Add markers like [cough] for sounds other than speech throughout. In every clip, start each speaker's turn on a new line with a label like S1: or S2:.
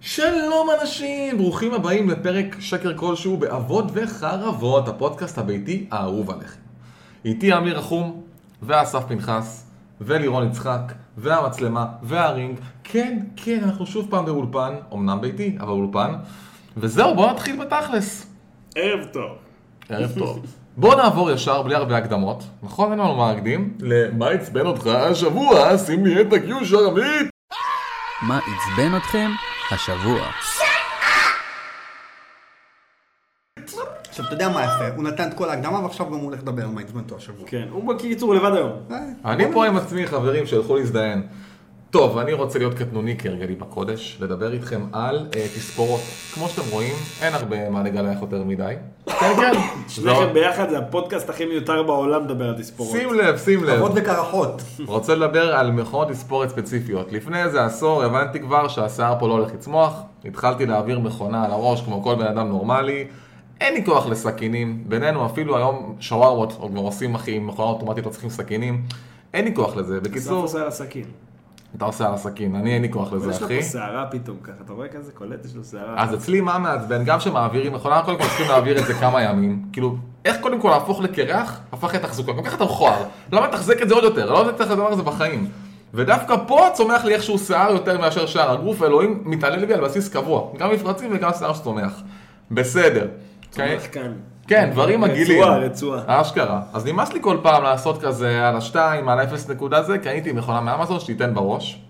S1: שלום אנשים, ברוכים הבאים לפרק שקר כלשהו באבות וחרבות, הפודקאסט הביתי האהוב עליכם. איתי אמיר רחום, ואסף פנחס, ולירון יצחק, והמצלמה, והרינג. כן, כן, אנחנו שוב פעם באולפן, אמנם ביתי, אבל אולפן. וזהו, בואו נתחיל בתכלס.
S2: ערב טוב.
S1: ערב טוב. [laughs] בואו נעבור ישר בלי הרבה הקדמות, נכון? אין לנו מה להקדים. למה עצבן אותך השבוע? שים לי את הקיו שרמית!
S3: מה עצבן אתכם השבוע?
S4: עכשיו, אתה יודע מה יפה? הוא נתן את כל ההקדמה ועכשיו גם הוא הולך לדבר על מה עצבנתו השבוע.
S2: כן, הוא בקיצור לבד היום.
S4: אה,
S1: אני פה עם עצמי, חברים, שילכו להזדיין. טוב, אני רוצה להיות קטנוני כהרגלי בקודש, לדבר איתכם על אה, תספורות. כמו שאתם רואים, אין הרבה מה לגלח יותר מדי. כן, [laughs] כן.
S2: שניכם ביחד זה הפודקאסט הכי מיותר בעולם לדבר על תספורות.
S1: שים לב, שים לב.
S4: כבוד וקרחות.
S1: רוצה לדבר על מכונות תספורת ספציפיות. לפני איזה עשור הבנתי כבר שהשיער פה לא הולך לצמוח, התחלתי להעביר מכונה על הראש כמו כל בן אדם נורמלי, אין לי כוח לסכינים, בינינו אפילו היום שווארמות או כבר עושים אחי עם מכונה אוטומטית לא צריכים סכינים, אין לי כוח לזה.
S2: בסוף
S1: בקיצור,
S2: עושה על הסכין.
S1: אתה עושה על הסכין, אני אין לי כוח
S2: אבל
S1: לזה
S2: יש לו
S1: אחי. אה,
S2: פה שערה פתאום ככה, אתה רואה כזה קולט, יש לו שערה.
S1: אז אצלי מה מעצבן? גם שמעבירים מכונה, קודם כל צריכים להעביר את זה כמה ימים. כאילו, איך קודם כל להפוך לקרח, הפך לתחזוקה. גם ככה אתה מכוער. למה תחזק את זה עוד יותר? לא צריך את הדבר הזה בחיים. ודווקא פה צומח לי איכשהו שיער יותר מאשר שער הגוף, אלוהים מתעלל בי על בסיס קבוע. גם מפרצים וגם שיער שצומח. בסדר.
S2: צומח
S1: אוקיי?
S2: כאן.
S1: כן, דברים מגעילים.
S2: רצועה, רצועה.
S1: אשכרה. אז נמאס לי כל פעם לעשות כזה על השתיים, על האפס נקודה זה, קניתי מכונה מאמזון שתיתן בראש.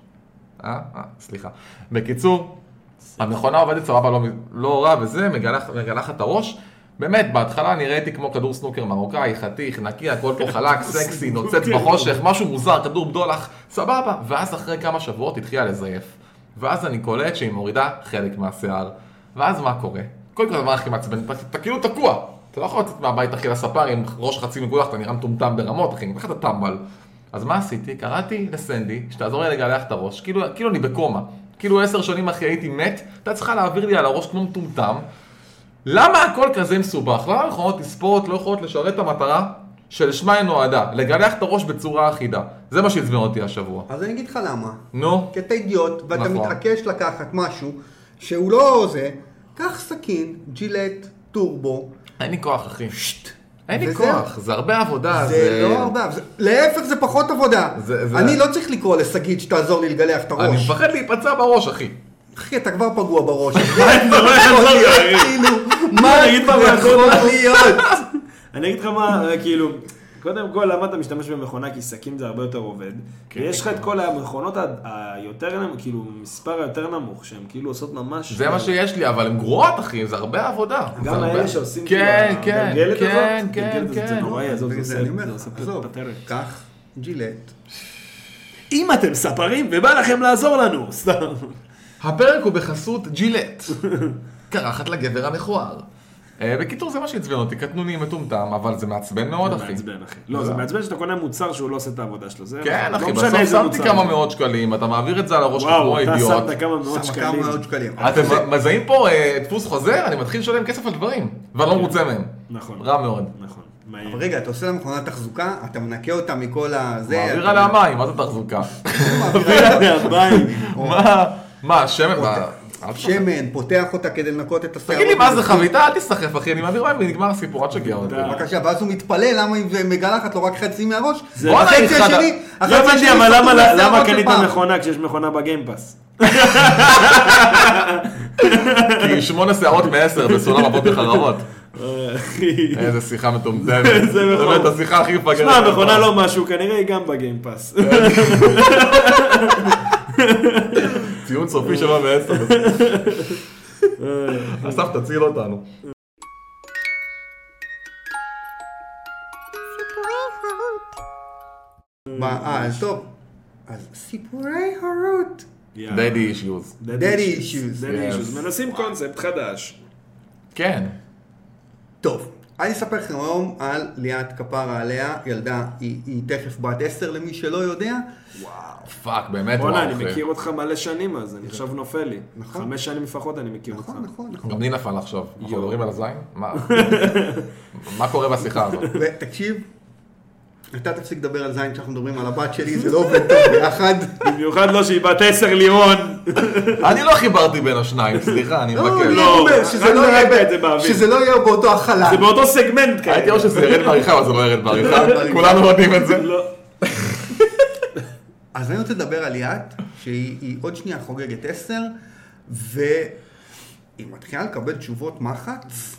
S1: אה? אה, סליחה. בקיצור, המכונה עובדת סבבה, לא, לא רע וזה, מגלח- מגלחת את הראש. באמת, בהתחלה נראיתי כמו כדור סנוקר מרוקאי, חתיך, נקי, הכל פה
S2: [laughs]
S1: חלק, סקסי, נוצץ בחושך, משהו מוזר, כדור בדולח, סבבה. ואז אחרי כמה שבועות התחילה לזייף. ואז אני קולט שהיא מורידה חלק מהשיער. ואז מה קורה? קודם כל הדבר הכי מעצבן, אתה- אתה כאילו תקוע. אתה לא יכול לצאת מהבית אחי לספר עם ראש חצי מגולח, אתה נראה מטומטם ברמות, אחי, איך אתה טמבל? אז מה עשיתי? קראתי לסנדי, שתעזור לי לגלח את הראש, כאילו, כאילו אני בקומה. כאילו עשר שנים אחי הייתי מת, אתה צריכה להעביר לי על הראש כמו מטומטם. למה הכל כזה מסובך? למה מכונות תספורת לא יכולות לשרת את המטרה שלשמה היא נועדה? לגלח את הראש בצורה אחידה. זה מה שעצבן אותי השבוע.
S4: אז אני אגיד לך למה.
S1: נו,
S4: כי אתה אידיוט, ואתה
S1: נכון.
S4: מתעקש לקחת משהו שהוא לא זה. קח סכין, ג'ילט, טורבו.
S1: אין לי כוח אחי. אין לי
S4: וזהו.
S1: כוח, זה הרבה עבודה.
S4: זה לא הרבה, זה- להפך זה פחות עבודה.
S1: זה- זה-
S4: אני לא צריך לקרוא לשגית שתעזור לי לגלח את
S1: אני
S4: הראש.
S1: מפחד להיפצע בראש, אחי.
S4: אחי, אתה כבר פגוע בראש. [laughs]
S2: אני לא
S4: כאילו, מה
S2: אני אגיד מה
S4: יכול
S1: לא-
S2: לעשות.
S4: להיות?
S2: אני אגיד לך מה, אה, כאילו, קודם כל למה אתה משתמש במכונה, כי סכין זה הרבה יותר עובד.
S1: כן.
S2: ויש לך את כל המכונות ה- היותר נמוך, כאילו, מספר היותר נמוך, שהן כאילו עושות ממש...
S1: זה מה שיש לי, אבל הן גרועות, אחי, זה הרבה עבודה. זה
S2: גם
S1: הרבה-
S2: האלה שעושים,
S1: כן,
S2: כאילו,
S1: כן,
S2: הגלגלת הזאת,
S1: כן, כן,
S2: הגלגלת הזאת,
S1: כן.
S2: זה נוראי, עזוב, זה
S4: וזה
S2: עושה-
S4: אני אומר
S2: זה
S4: לך,
S2: עושה
S4: עזוב,
S2: פטרת.
S4: קח ג'ילט.
S2: אם אתם ספרים ובא לכם לעזור לנו, [laughs] סתם.
S1: הפרק הוא בחסות
S2: [laughs]
S1: ג'ילט. קרחת לגבר המכוער. אה, בקיצור, זה מה שעצבן אותי, קטנוני מטומטם, אבל זה מעצבן מאוד,
S2: זה
S1: אחי.
S2: מעצבן אחי. לא, זה מעצבן שאתה קונה מוצר שהוא לא עושה את העבודה שלו. זה
S1: כן,
S2: לא
S1: אחי,
S2: משנה
S1: בסוף
S2: איזה
S1: שמתי
S2: מוצר.
S1: כמה מאות שקלים, אתה מעביר את זה על הראש כמו
S2: וואו, אתה
S1: אידיוט.
S2: שמת כמה מאות
S4: שם כמה
S2: שקלים.
S4: מאות שקלים.
S1: אתם מזהים פה אה, דפוס חוזר? אני מתחיל לשלם כסף על דברים, ואני לא מרוצה מהם.
S2: כן. נכון.
S1: רע מאוד.
S2: נכון.
S4: אבל
S2: מהיר.
S4: רגע, אתה עושה למכונת תחזוקה, אתה מנקה אותה מכל הזה.
S1: מעביר עליה מים, מה זה תחזוקה?
S2: [laughs] מהבית.
S1: מה? מה, שמן? מה? אל תשחק.
S4: שמן, פותח אותה כדי לנקות את השערות.
S1: תגיד לי מה זה חביתה, אל תסחף אחי, אני מעביר מים ונגמר הסיפור, אל תשגע אותי.
S2: אתה-
S4: בבקשה, ואז הוא מתפלא למה היא מגלחת לו רק חצי מהראש.
S2: זה-
S1: וואלה,
S4: החצי
S1: היא חדה.
S4: השני,
S2: לא
S4: החצי
S2: הבנתי,
S4: השני
S2: אבל
S4: סחטו
S2: למה-
S4: את השערות
S2: למה
S4: של
S2: קנית
S4: לא פעם.
S2: מכונה כשיש מכונה בגיימפאס?
S1: כי שמונה שערות מעשר זה סולם אבות וחרבות.
S2: אחי.
S1: איזה שיחה מטומטמת.
S2: [laughs] זה נכון.
S1: באמת, השיחה הכי מפגרת.
S2: שמע,
S1: אה,
S2: המכונה לא משהו, כנראה היא גם בגיימפאס.
S1: ציון סופי שלו
S2: [laughs]
S1: מעשר. [laughs] אסף, תציל אותנו.
S2: כן.
S4: מה, אה, אז טוב. אז סיפורי הורות.
S1: אה, דדי אישיוז.
S4: Daddy issues.
S2: דדי
S1: Yes.
S2: אישוז. מנסים קונספט חדש.
S1: כן.
S4: טוב, אני אספר לכם היום על ליאת כפרה עליה, ילדה, היא היא תכף בת עשר למי שלא יודע.
S1: פאק, באמת.
S2: בואנה,
S1: וואו,
S2: אני
S1: אחי.
S2: מכיר אותך מלא שנים אז, אני עכשיו נופל לי.
S4: כן. נכון.
S2: חמש שנים לפחות אני מכיר אותך.
S4: נכון, נכון, נכון.
S1: גם לי נפל עכשיו. אנחנו
S2: יואו.
S4: [laughs]
S1: מדברים על הזין? מה- מה קורה בשיחה הזאת?
S4: ותקשיב, אתה תפסיק לדבר על זין כשאנחנו מדברים על הבת שלי, זה לא עובד טוב ביחד.
S2: במיוחד לא שהיא בת עשר לירון.
S1: אני לא חיברתי בין השניים, סליחה, אני
S4: לא,
S1: מבקר.
S4: אני
S2: לא,
S4: אומר שזה
S2: רק
S4: לא
S2: נראה
S4: יהיה-
S2: את זה באוויר.
S4: שזה לא יהיה באותו החלל.
S2: זה באותו סגמנט כאלה.
S1: לא, הייתי אומר שזה ירד בעריכה, אבל זה לא ירד בעריכה.
S4: לא ירד
S1: כולנו יודעים את זה.
S2: לא.
S4: אז אני רוצה לדבר על ליאת, שהיא היא עוד שנייה חוגגת עשר, והיא מתחילה לקבל תשובות מחץ,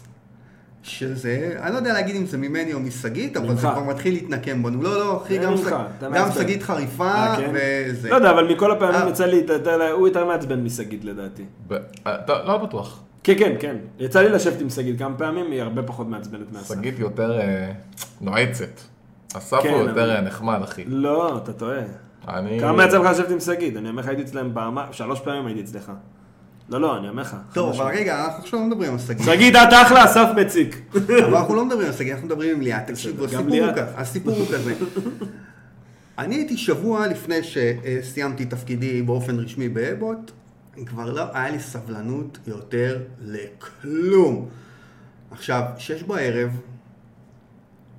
S4: שזה, אני לא יודע להגיד אם זה ממני או משגית, אבל
S2: ממך.
S4: זה כבר מתחיל להתנקם בנו. לא, לא, אחי,
S2: זה
S4: גם
S2: ממך,
S4: ש-
S2: אתה
S4: גם
S2: מעצבן.
S4: שגית חריפה,
S2: אה, כן?
S4: וזה.
S2: לא יודע, אבל מכל הפעמים
S4: אה.
S2: יצא לי, אתה יודע, הוא יותר מעצבן משגית לדעתי.
S1: ב- אה, טוב, לא בטוח.
S2: כן, כן, כן. יצא לי לשבת עם שגית כמה פעמים, היא הרבה פחות מעצבנת מאסף.
S1: שגית יותר אה, נועצת. אסף
S2: כן,
S1: הוא יותר
S2: אבל-
S1: אה, נחמד, אחי.
S2: לא, אתה טועה.
S1: אני...
S2: כמה יצא לך לשבת עם שגית? אני אומר לך, הייתי אצלם פעמה, שלוש פעמים הייתי אצלך. לא, לא, אני אומר לך.
S4: טוב,
S2: חד
S4: אבל
S2: משמעית.
S4: רגע, אנחנו עכשיו לא מדברים על שגית.
S2: שגית, את אחלה, אסף מציק.
S4: אבל אנחנו לא מדברים על שגיא, אנחנו מדברים עם ליאת. תקשיבו,
S2: בסדר, גם
S4: הסיפור הוא
S2: ליאת.
S4: כזה. הסיפור הוא כזה. אני הייתי שבוע לפני שסיימתי תפקידי באופן רשמי באבוט, כבר לא היה לי סבלנות יותר לכלום. עכשיו, שש בערב,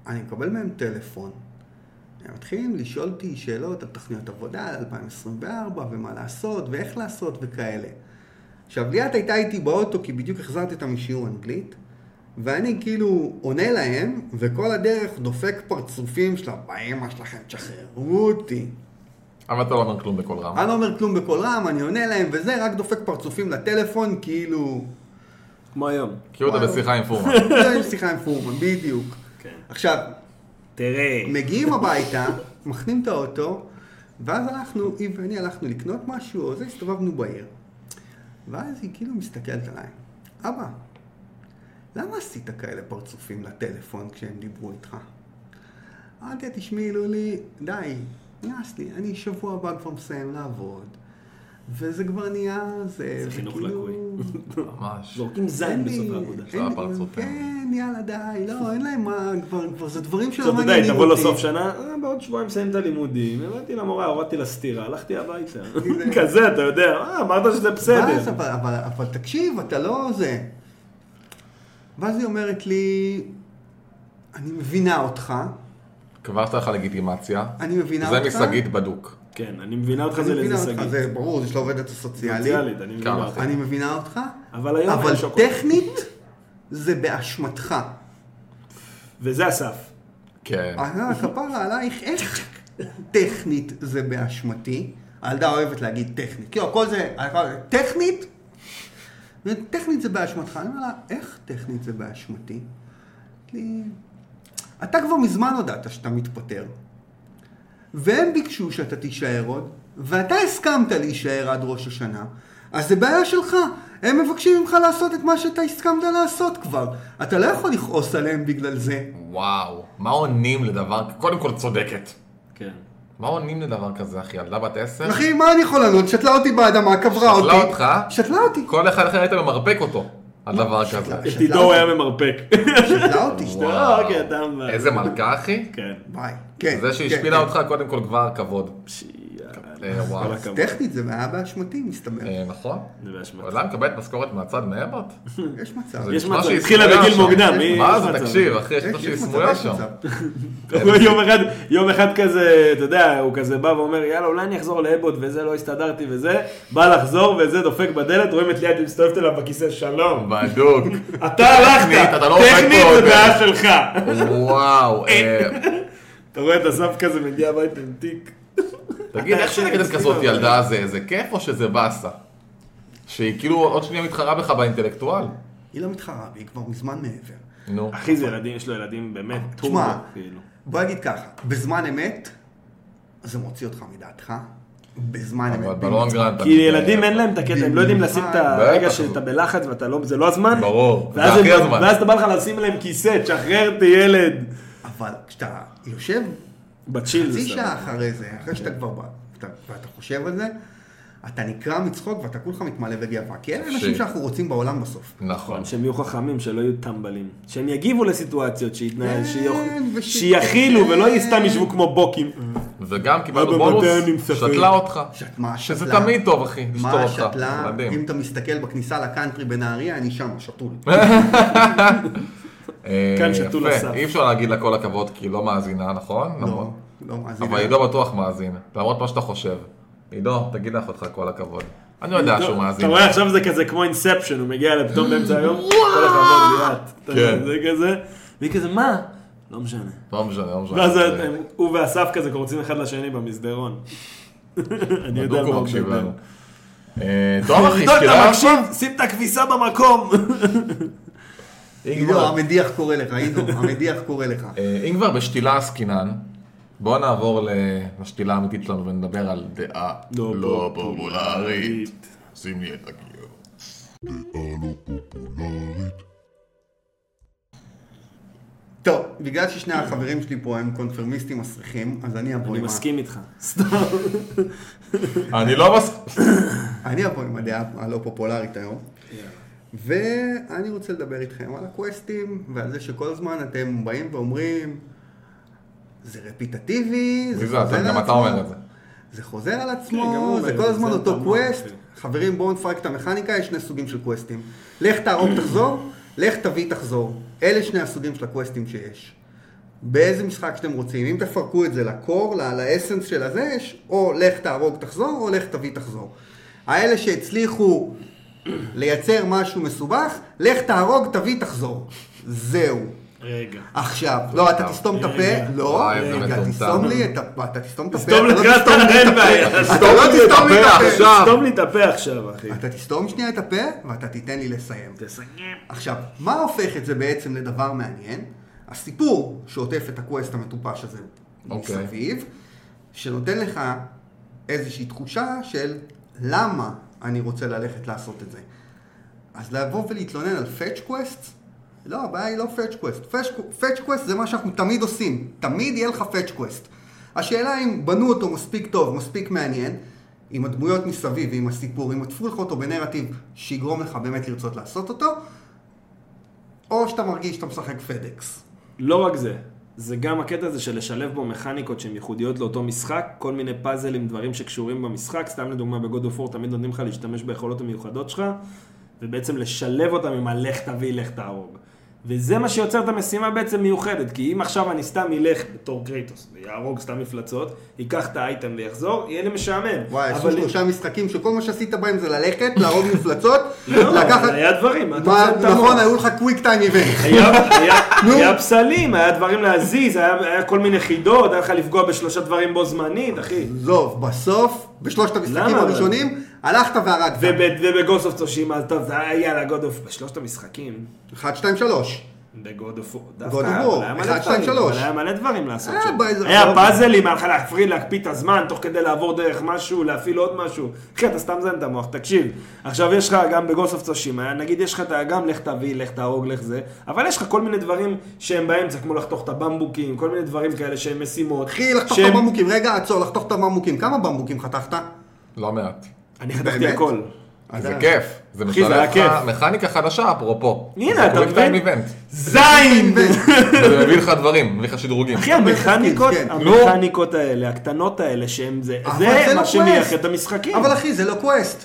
S4: אני מקבל מהם טלפון. הם מתחילים לשאול אותי שאלות על תוכניות עבודה, על 2024, ומה לעשות, ואיך לעשות, וכאלה. עכשיו, ליאת הייתה איתי באוטו, כי בדיוק החזרתי אותה משיעור אנגלית, ואני כאילו עונה להם, וכל הדרך דופק פרצופים שלה, באמא שלכם, תשחררו אותי.
S1: אבל אתה לא אומר כלום בקול רם.
S4: אני לא אומר כלום בקול רם, אני עונה להם וזה, רק דופק פרצופים לטלפון, כאילו... [laughs]
S2: כמו היום.
S1: כאילו אתה
S4: וואי.
S1: בשיחה עם
S4: [laughs]
S1: פורמן.
S4: זה עם שיחה עם פורמן, בדיוק.
S2: כן.
S4: עכשיו,
S2: תראה.
S4: מגיעים הביתה, מחנים את האוטו, ואז הלכנו, היא ואני הלכנו לקנות משהו, או זה, הסתובבנו בעיר. ואז היא כאילו מסתכלת עליי, אבא, למה עשית כאלה פרצופים לטלפון כשהם דיברו איתך? אמרתי לה, תשמעי, לולי, די, נמאס לי, אני שבוע הבא כבר מסיים לעבוד, וזה כבר נהיה זה,
S2: זה חינוך לקוי.
S1: ממש.
S2: זורקים זין
S4: אין לי-
S2: בסוף העבודה.
S4: אין לי-
S1: הפרצופים.
S4: כן, יאללה, די, לא, אין להם מה, כבר, כבר זה דברים שלא
S2: עכשיו אתה
S4: מעניינים אותי.
S2: יודע, תבוא לסוף שנה, "אה, בעוד שבועיים מסיים את הלימודים, הבאתי למורה, הורדתי לה סטירה, הלכתי הביתה. [laughs] כזה, אתה יודע, "אה, אמרת שזה
S4: ואז,
S2: בסדר.
S4: אבל, אבל, אבל תקשיב, אתה לא זה. ואז היא אומרת לי, אני מבינה אותך,
S1: כבשת לך לגיטימציה.
S4: אני מבינה
S1: זה
S4: אותך.
S1: משגית בדוק.
S2: כן, אני מבינה אותך
S4: אני
S2: זה
S4: מבינה
S2: לאיזה
S4: אותך,
S2: שגית.
S4: זה ברור, יש לו עובדת סוציאלית.
S2: סוציאלית, אני
S1: כמה,
S2: מבינה אותך.
S4: אני מבינה אותך,
S2: אבל היום
S4: אבל
S2: אין שוקולד.
S4: טכנית זה באשמתך.
S2: וזה אסף.
S1: כן.
S4: אה, כפרה עלייך, איך טכנית זה באשמתי? הילדה אוהבת להגיד טכנית. כאילו, הכל זה, הכל זה, טכנית? טכנית זה באשמתך. אני אומר לה, איך טכנית זה באשמתי? אמרת לי, אתה כבר מזמן הודעת שאתה מתפטר. והם ביקשו שאתה תישאר עוד, ואתה הסכמת להישאר עד ראש השנה, אז זה בעיה שלך. הם מבקשים ממך לעשות את מה שאתה הסכמת לעשות כבר. אתה לא יכול לכעוס עליהם בגלל זה.
S1: וואו. מה עונים לדבר? קודם כל צודקת.
S2: כן.
S1: מה עונים לדבר כזה, אחי? ילדה בת
S2: [laughs]
S1: עשר?
S4: אחי, מה אני יכול לענות? שתלה אותי באדמה, קברה אותי.
S1: שתלה אותך?
S4: שתלה
S1: [laughs]
S4: אותי.
S1: כל אחד אחר היית ממרפק אותו על
S2: [laughs]
S1: דבר כזה.
S4: שתלה-
S2: את עידו הוא היה [laughs] ממרפק.
S4: שתלה אותי.
S1: וואו.
S2: אה, אוקיי, אתה מבאס.
S1: איזה מלכה, אחי?
S2: כן.
S4: ביי. כן.
S1: זה
S4: כן,
S1: שהשפילה
S4: כן.
S1: אותך, קודם כל כבר
S2: [laughs]
S1: כבוד.
S2: שיאללה.
S1: אה, וואו.
S2: כל הכבוד.
S4: טכנית זה היה באשמתי, מסתבר.
S1: אה, נכון?
S2: זה באשמתך.
S1: אבל למה מקבלת משכורת מהצד מאבוט?
S4: יש מצב.
S1: כן. זה
S2: יש
S1: כמו
S2: מצב,
S1: שהיא
S2: התחילה
S1: סמויה
S2: בגיל
S1: שם.
S2: מוקדם,
S1: מה
S2: היא- יש
S1: זה,
S2: מצב.
S1: תקשיב, אחי, יש
S4: יש-
S1: כמו שהיא
S4: יש מצב,
S1: סמויה
S4: יש
S1: שם.
S4: מצב. [laughs]
S2: [laughs] הוא יום אחד, יום אחד כזה, אתה יודע, הוא כזה בא ואומר, יאללה, אולי אני אחזור לאבוט וזה, לא הסתדרתי וזה, בא לחזור וזה, דופק בדלת, רואים את ליאת מסתובבת אליו בכיסא, שלום.
S1: בדוק.
S2: [laughs] אתה הלכת,
S1: טכנית, אתה לא עובד
S2: טכנית
S1: פה
S2: זה
S1: עוד.
S2: בעיה שלך.
S1: וואו. אה,
S2: אתה רואה את אסף כזה מגיע הביתה עם תיק.
S1: תגיד,
S2: אתה
S1: איך
S2: ישן
S1: שנגדל
S2: עם
S1: כזאת
S2: סטירה,
S1: ילדה זה זה כיף או שזה באסה? שהיא כאילו עוד שנייה מתחרה בך באינטלקטואל?
S4: היא לא מתחרה בי, היא כבר מזמן מעבר.
S1: נו.
S2: אחי, זה ילדים, יש לו ילדים באמת, טורבו,
S4: תשמע,
S2: כאילו.
S4: בוא נגיד ככה, בזמן אמת, זה מוציא אותך מדעתך. בזמן
S1: אבל
S4: אמת.
S1: בלונג רן אתה לא
S2: כי
S1: מתנהל.
S2: ילדים אין להם את הקטע, הם לא יודעים לשים את הרגע
S1: בטח.
S2: שאתה בלחץ ואתה לא, זה לא הזמן.
S1: ברור, זה
S2: ואז
S1: הכי
S2: הם-
S1: הזמן.
S2: ואז אתה בא לך לשים להם כיסא, תשחרר את הילד.
S4: אבל כשאתה יושב
S2: בצ'יל. זה
S4: חצי
S2: סבבה.
S4: שעה אחרי זה, אחרי שאתה כבר בא, ואתה- ואתה חושב על זה, אתה נקרע מצחוק ואתה כולך מתמלא בגאווה. כי אלה אנשים
S1: תקשיב.
S4: שאנחנו רוצים בעולם בסוף.
S1: נכון.
S2: שהם יהיו חכמים, שלא יהיו טמבלים. שהם יגיבו לסיטואציות,
S4: כן,
S2: שיתנהל, שיוכ-
S4: וש-
S2: שיכילו,
S4: כן.
S2: ולא יהיו סתם ישבו כמו בוקים.
S1: וגם
S2: אבא,
S1: קיבלנו בונוס,
S2: מתי אני משחק?
S1: שתלה אותך.
S4: שת- מה
S1: שזה
S4: שתלה?
S1: תמיד טוב, אחי, לשתות
S4: מה
S1: אותך.
S4: השתלה?
S1: מדהים.
S4: אם אתה מסתכל בכניסה לקאנטרי בנהריה, אני שם, שתול.
S1: אה,
S2: כאן שתו
S1: יפה.
S2: לסף.
S1: אי אפשר להגיד לה כל הכבוד, כי היא לא מאזינה, נכון?
S4: לא,
S1: למרות-
S4: לא, אז
S1: אבל
S4: הנה.
S1: עידו בטוח מאזין, למרות מה שאתה חושב. עידו, תגיד לאחותך כל הכבוד. אני לא יודע שהוא מאזין.
S2: אתה רואה עכשיו זה כזה כמו אינספשן, הוא מגיע אליו פתאום באמצע היום, כל הכבוד ליאת. אתה יודע,
S1: כן.
S2: זה כזה, והיא כזה, מה? לא משנה.
S1: לא משנה, לא משנה.
S2: ואז
S1: זה-
S2: הם- הוא ואסף כזה קורצים אחד לשני במסדרון. [laughs] אני יודע
S1: בדוק
S2: על מה
S1: הוא
S2: הוא
S1: מקשיב
S2: מדבר.
S1: לנו. אה, טוב
S2: [laughs]
S1: אחי,
S2: עידו, אתה
S1: שקילה.
S2: מקשיב? שים את הכביסה במקום. [laughs]
S4: עידו, המדיח קורא לך,
S1: [laughs]
S4: עידו, המדיח קורא לך.
S1: אה, אם כבר בשתילה עסקינן, בואו נעבור ל- לשתילה האמיתית שלנו ונדבר על דעה
S2: לא
S1: לא פופולרית. שים לי את הגיור.
S4: טוב, בגלל ששני החברים שלי פה הם קונפרמיסטים מסריחים, אז אני אבוא
S2: אני
S4: עם ה-
S2: מסכים איתך. סתם.
S1: אני לא מסכים.
S4: אני אבוא עם הדעה הלא פופולרית היום. ואני רוצה לדבר איתכם על הקווסטים, ועל זה שכל הזמן אתם באים ואומרים, זה רפיטטיבי, זה
S1: מי
S4: חוזר
S1: זה? אתה-
S4: על עצמו.
S1: גם אתה אומר את זה.
S4: זה חוזר על
S2: כן, גם הוא
S4: עצמו,
S2: אומר
S4: זה
S2: את
S4: כל
S2: זה,
S4: הזמן
S2: זה
S4: אותו
S2: אתה אמר,
S4: קווסט.
S2: כן.
S4: חברים, בואו נפרק את המכניקה, יש שני סוגים של קווסטים. לך תהרוג תחזור, לך תביא תחזור. אלה שני הסוגים של הקווסטים שיש. באיזה משחק שאתם רוצים, אם תפרקו את זה לקור, ל- לאסנס של הזה, יש או לך תהרוג תחזור, או לך תביא תחזור. האלה שהצליחו לייצר משהו מסובך, לך תהרוג תביא תחזור. זהו.
S2: רגע.
S4: עכשיו, לא, אתה תסתום את
S2: רגע.
S4: הפה, לא,
S1: וואי, איזה
S4: אתה
S1: מטומטם.
S4: תסתום לי את הפה, אתה תסתום את הפה,
S2: תסתום
S4: אתה לא
S2: לך את
S4: תסתום לי
S2: אין
S4: את הפה.
S2: בעיה.
S4: אתה לא תסתום לי את
S1: הפה
S4: הפה.
S1: עכשיו.
S2: סתום לי את הפה עכשיו, אחי.
S4: אתה תסתום שנייה את הפה, ואתה תיתן לי לסיים.
S2: תסיים.
S4: עכשיו, מה הופך את זה בעצם לדבר מעניין? הסיפור שעוטף את הקווסט המטופש הזה
S1: אוקיי.
S4: מסביב, שנותן לך איזושהי תחושה של למה אני רוצה ללכת לעשות את זה. אז לבוא ולהתלונן על פאץ' קווסט? לא, הבעיה היא לא פאץ' קווסט. פאץ' קווסט זה מה שאנחנו תמיד עושים. תמיד יהיה לך פאץ' קווסט. השאלה אם בנו אותו מספיק טוב, מספיק מעניין, עם הדמויות מסביב ועם הסיפור, אם עטפו לך אותו בנרטיב שיגרום לך באמת לרצות לעשות אותו, או שאתה מרגיש שאתה משחק פדקס.
S2: לא רק זה, זה גם הקטע הזה של לשלב בו מכניקות שהן ייחודיות לאותו משחק, כל מיני פאזלים, דברים שקשורים במשחק, סתם לדוגמה בגוד אוף וור תמיד נותנים לך להשתמש ביכולות המיוחדות שלך, ובעצם לשלב אותם עם הלך תביא, לך תהרוג. וזה מה שיוצר את המשימה בעצם מיוחדת, כי אם עכשיו אני סתם אלך בתור קרייטוס, ויהרוג סתם מפלצות, ייקח את האייטם ויחזור, יהיה לי משעמם.
S4: וואי, עשו
S2: אבל-
S4: שלושה משחקים שכל מה שעשית בהם זה ללכת, להרוג מפלצות,
S2: [laughs] לא,
S4: לקחת...
S2: היה דברים, מה אתה לא-
S4: מה-
S2: רוצה את המוח?
S4: נכון, היו לך קוויק טיים איבנט.
S2: היה- היה-
S4: נו.
S2: היה פסלים, היה דברים להזיז, היה היה כל מיני חידות, היה לך לפגוע בשלושה דברים בו זמנית, אחי.
S4: עזוב, בסוף, בשלושת המשחקים
S2: למה?
S4: הראשונים, הלכת והרגת.
S2: ובגוס אוף צושימה, טוב, זה היה יאללה, גוד אוף, בשלושת המשחקים,
S4: 1, 2, 3.
S2: בגוד אוף,
S4: God of War, אחד, שתיים, שלוש. אה,
S2: היה מלא דברים לעשות
S4: היה
S2: שם.
S4: באיזה-
S2: היה פאזלים, היה לך להפריד, להקפיא את הזמן, תוך כדי לעבור דרך משהו, להפעיל עוד משהו. אחי, אתה סתם זן את המוח, תקשיב. עכשיו יש לך גם בגוס אוף צושימה, נגיד יש לך את ה- גם לך תביא, לך תהרוג, לך זה, אבל יש לך כל מיני דברים שהם באמצע, כמו לחתוך את הבמבוקים, כל מיני דברים כאלה שהם משימות.
S4: אחי, לחתוך את
S2: שהם-
S4: הבמבוקים. רגע, עצור, לחתוך את הבמבוקים. כמה במבוקים חתכת?
S1: לא מעט.
S2: אני חתכתי
S4: באמת?
S2: הכל.
S1: זה
S4: אתה-
S1: כיף. זה
S2: אה. אחי, זה
S1: משלב
S2: היה
S1: לך
S2: כיף.
S1: מכניקה חדשה, אפרופו.
S2: הנה, אתה
S1: מבין?
S2: מבין? זין!
S1: זה מביא לך דברים, מביא לך שדרוגים.
S2: אחי, המכניקות,
S4: כן.
S2: המכניקות האלה, הקטנות האלה, שהם זה,
S4: אבל
S2: זה
S4: לא
S2: מה
S4: קווסט.
S2: שמייחד את המשחקים.
S4: אבל אחי, זה לא קווסט.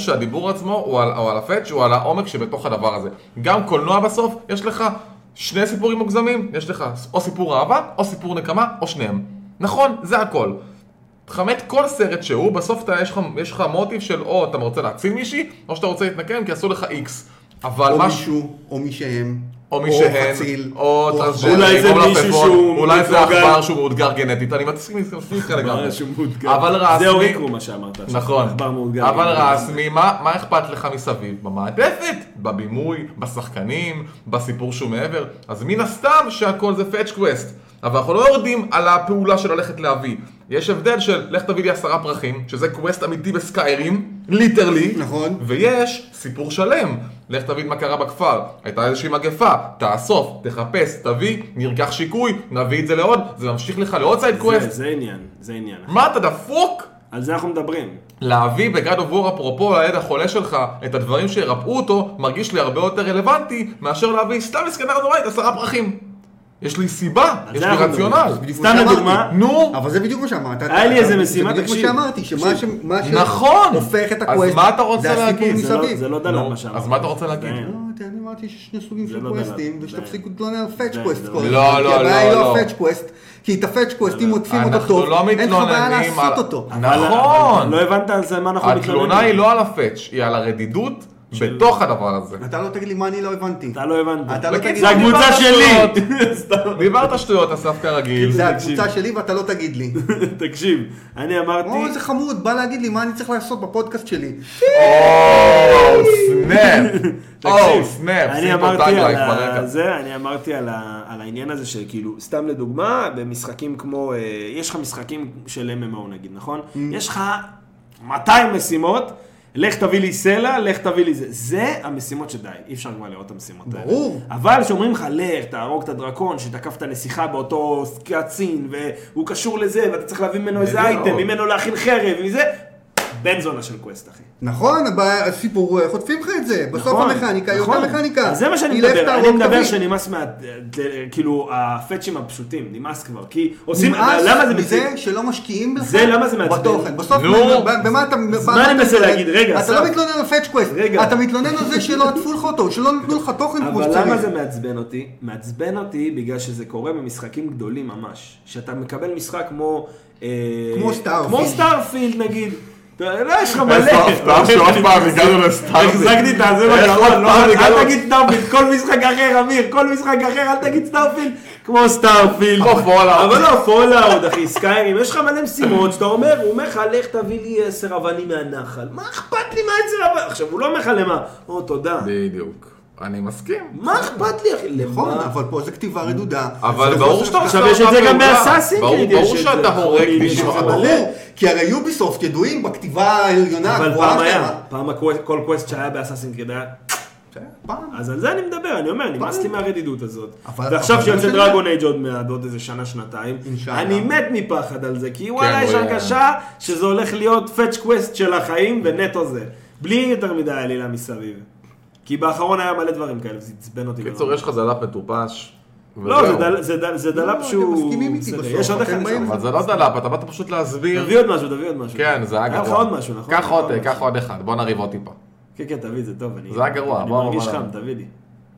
S1: שהדיבור עצמו הוא על- הוא על הפאץ', הוא על העומק שבתוך הדבר הזה. גם קולנוע בסוף, יש לך שני סיפורים מוגזמים, יש לך או סיפור אהבה, או סיפור נקמה, או שניהם. נכון, זה הכל. תחמת כל סרט שהוא, בסוף אתה, יש, לך, יש לך מוטיב של או אתה רוצה להציל מישהי, או שאתה רוצה להתנקם כי עשו לך איקס. אבל
S4: או
S1: מה...
S4: מישהו, או מי שהם.
S1: או מי שהן,
S4: חציל.
S1: או
S2: אולי
S1: טרנסג'נדרים,
S2: זה
S1: או
S2: מישהו שהוא
S1: מלפפון, לא אולי זה
S2: מפוגל.
S1: עכבר שהוא מאותגר גנטית, אני מסכים מסכים איתך לגמרי.
S2: משהו מאותגר.
S1: לא, אבל
S2: לא, זה
S1: רעסמי,
S2: אוריקרו מה שאמרת. עכשיו.
S1: נכון,
S2: עכבר מאותגר.
S1: אבל רעסמי, מה מה אכפת לך מסביב? במעטפת, בבימוי, בשחקנים, בסיפור שהוא מעבר, אז מן הסתם שהכל זה פאץ' קווסט. אבל אנחנו לא יורדים על הפעולה של ללכת להביא. יש הבדל של לך תביא לי עשרה פרחים, שזה קווסט אמיתי בסקיירים, ליטרלי,
S4: נכון.
S1: ויש סיפור שלם, לך תבין מה קרה בכפר, הייתה איזושהי מגפה, תאסוף, תחפש, תביא, נרקח שיקוי, נביא את זה לעוד, זה ממשיך לך לעוד סייד
S2: זה-
S1: קווסט.
S2: זה עניין, זה עניין.
S1: מה אתה דפוק?
S2: על זה אנחנו מדברים.
S1: להביא בגד עבור אפרופו לילד החולה שלך את הדברים שירפאו אותו מרגיש לי הרבה יותר רלוונטי מאשר להביא סתם מסכנה רנדומלית עשרה פרחים. יש לי סיבה, יש לי
S2: אנחנו
S1: רציונל.
S2: מדברים.
S4: בדיוק
S2: סתם
S4: מה
S2: לדוגמה,
S4: שאמרתי.
S1: נו,
S4: אבל זה בדיוק מה שאמרת.
S2: היה לי איזה משימה,
S4: זה בדיוק
S2: תקשיב.
S4: מה שאמרתי, שמה ש- מה ש-
S1: נכון.
S4: הופך
S1: אז
S4: את הקווסט,
S1: מה אתה רוצה
S4: זה הסיפור
S1: להגיד?
S2: זה לא-
S4: מסביב.
S2: זה לא דלל
S1: נו,
S2: מה שאמרת.
S1: אז מה אתה רוצה להגיד?
S2: די.
S4: לא, תראה, אני אמרתי שיש שני סוגים
S2: זה
S4: של
S2: לא
S4: קווסטים,
S2: דלל,
S4: ושתפסיקו
S2: זה-
S4: להתלונן על פאץ'
S2: זה-
S4: קווסט
S2: זה-
S4: כל הזמן.
S1: לא,
S4: כי
S1: לא,
S4: הבעיה היא
S1: לא,
S4: לא
S1: לא.
S4: הפאץ' קווסט, כי את הפאץ' קווסט, אם עוטפים אותו
S1: אנחנו
S4: טוב,
S1: לא
S4: אין לך בעיה
S1: מתלוננים על-
S4: לעשות אותו.
S2: אבל-
S1: נכון.
S2: לא הבנת על זה מה אנחנו מתלוננים.
S1: התלונה היא לא על הפאץ', היא על הרדידות בתוך הדבר הזה.
S4: אתה לא תגיד לי מה אני לא הבנתי.
S2: אתה לא הבנת.
S4: אתה לא
S1: בקיצור,
S2: זה
S4: תגיד לי.
S1: דיברת
S2: הקבוצה
S1: שטויות.
S2: שלי. [laughs] סתם.
S1: דיברת שטויות, אסף כרגיל.
S4: זה
S2: תקשיב.
S4: הקבוצה שלי ואתה לא תגיד לי.
S2: תקשיב, אני
S4: או,
S2: אמרתי,
S4: איזה חמוד, בא להגיד לי מה אני צריך לעשות בפודקאסט שלי.
S1: Oh, או, סנאפ. או,
S2: [laughs] תקשיב,
S1: סנאפ.
S2: Oh, אני
S1: שים פה
S2: אמרתי
S1: Oh, tagline
S2: על
S1: ברקע.
S2: ה- זה, אני אמרתי על ה- על העניין הזה שכאילו, סתם לדוגמה, במשחקים כמו, אה, יש לך משחקים של MMO נגיד, נכון? יש לך 200 משימות, לך תביא לי סלע, לך תביא לי זה. זה המשימות שדי, אי אפשר כבר לראות את המשימות האלה.
S4: ברור.
S2: אבל כשאומרים לך, לך, תהרוג את הדרקון שתקף את הנסיכה באותו קצין, והוא קשור לזה, ואתה צריך להביא ממנו איזה
S1: בדיוק.
S2: אייטם, ממנו להכין חרב, מזה, בן זונה של קווסט, אחי.
S4: נכון, הבעיה- הסיפור, חוטפים לך את זה. בסוף
S2: נכון,
S4: המכניקה היא
S2: נכון.
S4: אותה מכניקה.
S2: אז זה מה שאני
S4: היא לך
S2: מדבר,
S4: תהרוג
S2: אני מדבר
S4: תביא.
S2: שנמאס מה... כאילו, הפאצ'ים הפשוטים, נמאס כבר, כי עושים...
S4: נמאס
S2: למה זה מציג?
S4: מזה שלא משקיעים לך
S2: זה למה זה מעצבן?
S4: בתוכן. בסוף,
S1: נו.
S4: מה- ב- במה אתה...
S2: אז
S4: במה
S2: מה
S4: אתה
S2: אני מנסה
S4: מתלונן?
S2: להגיד? רגע,
S4: אתה
S2: אסף.
S4: לא מתלונן על פאצ' קווסט.
S2: רגע.
S4: אתה מתלונן על זה שלא עטפו לך אותו, שלא נתנו לך תוכן כמו
S2: אבל
S4: שצריך.
S2: למה זה מעצבן אותי? מעצבן אותי בגלל שזה קורה במשחקים גדולים ממש. שאתה מקבל משחק כמו... אה,
S4: כמו סטארפילד.
S2: כמו סטארפילד נגיד. אתה יודע, יש לך מלא.
S1: איזה הפתעה שעוד אה, פעם
S2: [laughs]
S1: הגענו לסטארפילד.
S2: החזקתי את הזה
S1: איך עוד
S2: בגרון, לא,
S1: פעם הגענו-
S2: אל תגיד סטארפילד, כל משחק אחר, אמיר, כל משחק אחר, אל תגיד סטארפילד, כמו סטארפילד.
S1: כמו Fallout.
S2: אבל לא, פולאאוט, אחי, סקיירים, יש לך מלא משימות שאתה אומר, הוא אומר לך, לך תביא לי עשר אבנים מהנחל. מה אכפת לי מהעשר אבנים? עכשיו, הוא לא אומר לך למה. או, תודה.
S1: בדיוק. אני מסכים.
S2: מה אכפת לי, אחי?
S4: נכון,
S2: למה?
S4: אבל פה זה כתיבה רדודה.
S1: אבל
S4: זה
S1: ברור
S4: חוסר-
S1: שאתה
S2: עכשיו
S1: עושה
S2: יש את
S1: אותה
S2: זה גם
S1: פעולה.
S2: באסאסין
S1: ברור-
S2: קריד,
S1: ברור
S2: יש את זה,
S1: שאתה הורג
S2: חולים, יש
S1: מישהו.
S2: את זה.
S1: ברור.
S4: ברור, כי הרי יוביסופט ידועים בכתיבה העליונה
S2: אבל
S4: הגבוהה
S2: פעם
S4: שלהם.
S2: היה, פעם הקוו- כל קווסט שהיה באסאסין קריד היה...
S4: כן, פעם.
S2: אז על זה אני מדבר, אני אומר, נמאס לי מהרדידות הזאת.
S4: אבל-
S2: ועכשיו
S4: אבל
S2: שיוצא
S4: זה מה שאני-
S2: דרגון אייג' עוד מעט, עוד איזה שנה, שנתיים,
S4: אינשאללה. כן,
S2: אני מת מפחד על זה, כי וואלה,
S1: הוא
S2: יש
S1: יהיה.
S2: הרגשה שזה הולך להיות פאץ' קווסט של החיים ונטו זה. בלי יותר מדי עלילה מסביב. כי באחרון היה מלא דברים כאלה, וזה עצבן אותי.
S1: בקיצור,
S2: גם.
S1: יש לך זלף מטופש.
S2: לא, זה
S1: וזהו.
S2: דל- זה דל- זה דלאפ
S4: לא, אתם
S2: שהוא...
S4: מסכימים איתי
S2: בסדר,
S4: בסוף,
S2: יש עוד
S4: אתם
S2: אחד.
S4: באים-
S2: אבל-
S1: אבל זה לא זלף, אתה באת פשוט להסביר.
S2: תביא עוד משהו, תביא עוד משהו.
S1: כן, זה היה גרוע.
S2: היה לך עוד משהו, נכון?
S1: קח עוד,
S2: משהו.
S1: קח עוד אחד, בוא נריב עוד טיפה.
S2: כן, כן, תביא, זה טוב. אני-
S1: זה היה גרוע,
S2: אני
S1: בוא,
S2: מרגיש
S1: בוא,
S2: חם,
S1: בוא.
S2: תביא לי.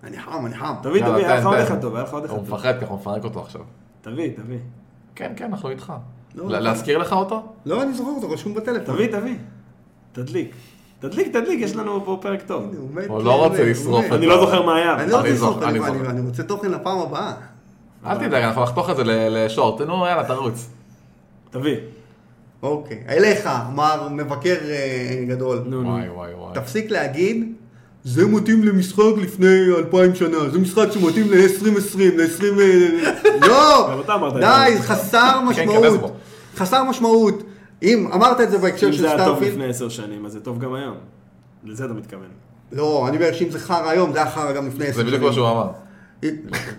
S4: אני חם, אני חם.
S2: תביא,
S1: יאללה,
S2: תביא, היה לך
S1: תן,
S2: עוד
S1: תן.
S2: אחד טוב, היה לך עוד אחד
S1: הוא
S2: טוב.
S1: מפחד, ככה הוא מפרק אותו עכשיו.
S2: תביא, תביא.
S1: כן, כן, אנחנו איתך.
S4: לא,
S1: לה-
S4: לא.
S1: להזכיר לך אותו?
S4: לא, אני זוכר אותו, רשום בטלפון.
S2: תביא, תביא. תדליק. תדליק, תדליק, יש לנו פה פרק טוב.
S4: הוא מת
S1: הוא לא
S4: לי,
S1: רוצה
S4: הוא
S1: לשרוף
S4: מת.
S1: את
S2: אני לא זוכר מה היה.
S4: אני לא רוצה
S1: אני
S4: לשרוף
S1: זוכר,
S4: את
S1: אני
S4: הלב,
S1: זוכר.
S4: אני אני רוצה תוכן לפעם הבאה.
S1: אל תדאג, אנחנו נחתוך את זה ל- לשורט. נו, יאללה, תרוץ.
S2: תביא.
S4: אוקיי, אליך, מר מבקר אה, גדול.
S2: נו, נו.
S1: וואי, וואי, וואי.
S4: תפסיק להגיד, זה מתאים למשחק לפני אלפיים שנה, זה משחק שמתאים ל-2020, ל-20...
S2: [laughs]
S4: לא!
S2: גם אתה אמרת את
S4: די,
S2: זה.
S4: חסר
S1: כנס בו.
S4: משמעות. חסר משמעות. אם אמרת את זה בהקשר
S2: אם
S4: של
S2: זה היה טוב
S4: סטארפילד,
S2: לפני עשר שנים, אז זה טוב גם היום. לזה אתה [laughs] מתכוון.
S4: לא, אני אומר שאם זה חרא היום, זה היה חרא גם לפני עשר
S1: זה
S4: שנים.
S1: בדיוק מה שהוא אמר.
S2: לא,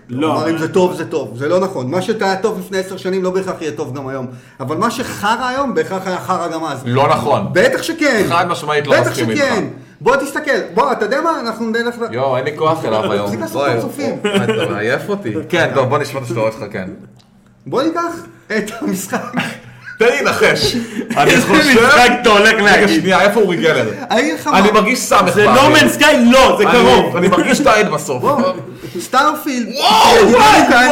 S4: כלומר, אם
S2: אבל-
S4: זה טוב, זה טוב. זה לא נכון. מה שהיה טוב לפני עשר שנים, לא בהכרח יהיה טוב גם היום. אבל מה שחרא היום, בהכרח היה חרא גם אז.
S1: לא נכון.
S4: בטח שכן.
S1: חד משמעית לא מסכים
S4: בטח שכן.
S1: איתך.
S4: בוא תסתכל. בוא, אתה יודע מה? אנחנו נלך... ל-
S1: יואו, אין לי כוח אליו היום.
S4: תפסיק לעשות
S1: וואי,
S4: פרצופים.
S1: הוא- אתה מעייף אותי. כן, טוב, בוא נשמע את השטויות שלך, כן.
S4: בוא ניקח את
S1: [laughs]
S4: המשחק.
S1: תן לי לנחש. אני
S2: משחק אתה הולך
S1: רגע,
S2: להגיד.
S1: שנייה, איפה אורי גלר?
S4: העיר חמה.
S1: אני מרגיש סמך.
S2: זה
S1: באוויר.
S2: נומן סקאי? לא, זה
S1: אני-
S2: קרוב.
S1: אני מרגיש את העד בסוף.
S4: בוא, סטארפילד.
S1: וואו,
S4: שדיברנו כאן-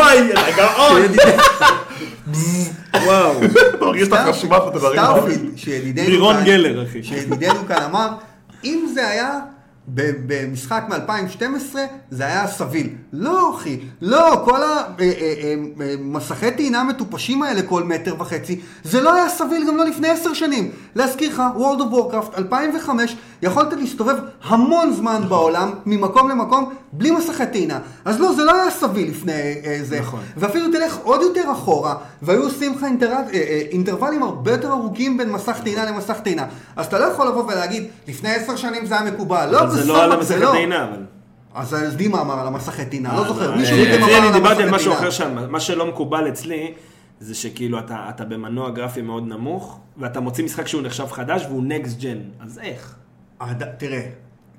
S2: וואו.
S1: [laughs] מרגיש את החשיבה פה, תדרים.
S4: סטארפילד, שידידנו
S2: לירון
S4: כאן-
S2: גלר, אחי.
S4: שידידנו כאן אמר, אם זה היה ב- במשחק מ-2012, זה היה סביל. לא, אחי, לא, כל המסכי אה, טעינה המטופשים האלה כל מטר וחצי, זה לא היה סביל גם לא לפני עשר שנים. להזכיר לך, World of Warcraft 2005, יכולת להסתובב המון זמן בעולם, ממקום למקום, בלי מסכי טעינה. אז לא, זה לא היה סביל לפני אה, זה.
S2: נכון.
S4: ואפילו תלך עוד יותר אחורה, והיו עושים לך אינטר... אה, אה, אינטרוולים הרבה יותר ארוכים בין מסך טעינה למסך טעינה. אז אתה לא יכול לבוא ולהגיד, לפני עשר שנים זה היה מקובל. לא,
S2: אבל זה לא על
S4: סבבה,
S2: המסכת
S4: זה לא.
S2: עינה, אבל.
S4: אז דימה אמר על המסכי טעינה, לא זוכר.
S2: אה,
S4: מישהו
S2: אה,
S4: מכם אמר
S2: אצלי
S4: על
S2: אני דיברתי
S4: המסכי
S2: על משהו
S4: טעינה.
S2: אחר שם, מה שלא מקובל אצלי, זה שכאילו אתה אתה במנוע גרפי מאוד נמוך, ואתה מוציא משחק שהוא נחשב חדש והוא נקסט ג'ן, אז איך?
S4: הד- תראה,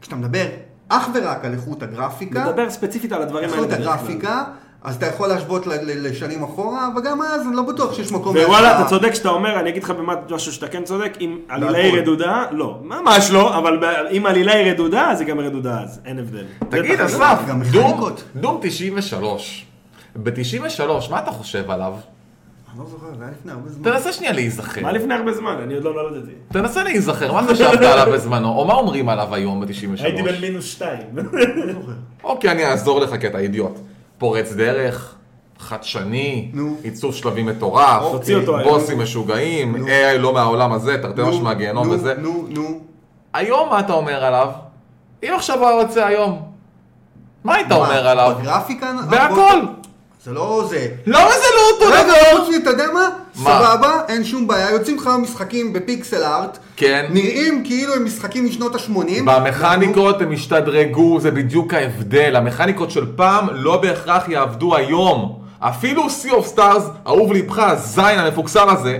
S4: כשאתה מדבר אך ורק על איכות הגרפיקה,
S2: נדבר ספציפית על הדברים האלה.
S4: איכות
S2: בדרך כלל.
S4: הגרפיקה, אז אתה יכול להשוות ל- ל- לשנים אחורה, וגם אז אני לא בטוח שיש מקום...
S2: ווואלה,
S4: להשוואה.
S2: אתה צודק שאתה אומר, אני אגיד לך במשהו שאתה כן צודק, אם עלילה
S4: בהכל.
S2: היא רדודה, לא, ממש לא, אבל ב- אם עלילה היא רדודה, אז היא גם רדודה אז, אין הבדל.
S4: כן.
S1: תגיד,
S4: בטח,
S1: אסף,
S4: גם
S1: דום,
S4: מכניקות.
S1: דום 93. ב-93, מה אתה חושב עליו?
S4: אני לא זוכר, זה היה לפני הרבה זמן.
S1: תנסה שנייה להיזכר.
S2: מה לפני הרבה זמן? אני עוד לא נולדתי.
S1: תנסה להיזכר, מה חשבת עליו בזמנו, או מה אומרים עליו היום ב-93?
S2: הייתי בן מינוס שתיים.
S1: אוקיי, אני אעזור לך כי אתה אידיוט. פורץ דרך, חדשני,
S4: נו. אוקיי.
S1: עיצוב שלבים מטורף,
S2: תוציא אותו,
S1: בוסים משוגעים, AI לא מהעולם הזה, תרתי
S4: אה, נו,
S1: משמע מהגיהנום
S4: נו,
S1: וזה.
S4: נו, נו.
S1: היום מה אתה אומר עליו? אם עכשיו היה יוצא היום, מה היית
S4: מה,
S1: אומר עליו?
S4: בגרפיקה? אה,
S1: בהכל!
S4: זה לא זה.
S1: למה זה לא אותו
S4: רגע,
S1: דבר?
S4: חוץ מזה, אתה יודע מה?
S1: מה?
S4: סבבה, אין שום בעיה, יוצאים לך משחקים בפיקסל ארט,
S1: כן.
S4: נראים כאילו הם משחקים משנות ה-80.
S1: במכניקות הם השתדרגו, זה בדיוק ההבדל. המכניקות של פעם לא בהכרח יעבדו היום. אפילו Sea of Stars, אהוב ליבך, הזין המפוקסם הזה,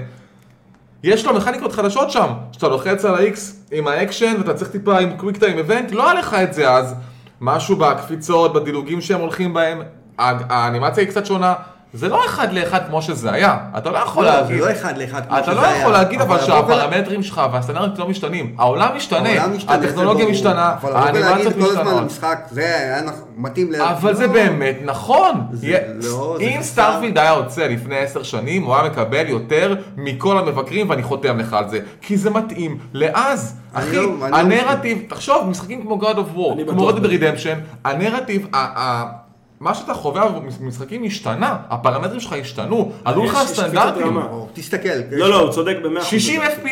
S1: יש לו מכניקות חדשות שם. שאתה לוחץ על ה-X עם האקשן ואתה צריך טיפה עם קוויק טיים אבנט, לא היה לך את זה אז. משהו בקפיצות, בדילוגים שהם הולכים בהם, ה- האנימציה היא קצת שונה. זה לא אחד לאחד כמו שזה היה. אתה לא יכול
S4: לא, זה
S1: להגיד.
S4: לא אחד לאחד. כמו
S1: אתה
S4: שזה
S1: לא
S4: היה.
S1: יכול להגיד אבל
S4: לבוא ול-
S1: שהפרמטרים שלך והסטנדרטים לא משתנים. העולם משתנה,
S4: העולם משתנה, זה
S1: הטכנולוגיה
S4: ברור.
S1: משתנה,
S4: אבל לבוא
S1: האנימציות
S4: ולהגיד כל הזמן
S1: משתנות.
S4: למשחק, זה היה נכ- מתאים ל...
S1: אבל זה
S4: לא.
S1: באמת נכון.
S4: זה
S1: יה-
S4: לא, זה
S1: אם
S4: חסר.
S1: סטארפילד היה יוצא לפני עשר שנים, הוא היה מקבל יותר מכל המבקרים, ואני חותם לך על זה. כי זה מתאים לאז.
S4: אני
S1: אחי,
S4: לא- אני לא
S1: הנרטיב, תחשוב, משחקים כמו God of
S2: אני
S1: War, כמו
S2: בטוח
S1: Red Dead Redemption, הנרטיב, ה- ה- מה שאתה חווה במשחקים השתנה, הפרמטרים שלך השתנו, עלו
S2: יש-
S1: לך
S2: יש קפיצת
S1: הסטנדרטים.
S2: רמה.
S4: או, תסתכל.
S2: לא, לא, הוא צודק במאה אחוז.
S1: 60 FPS,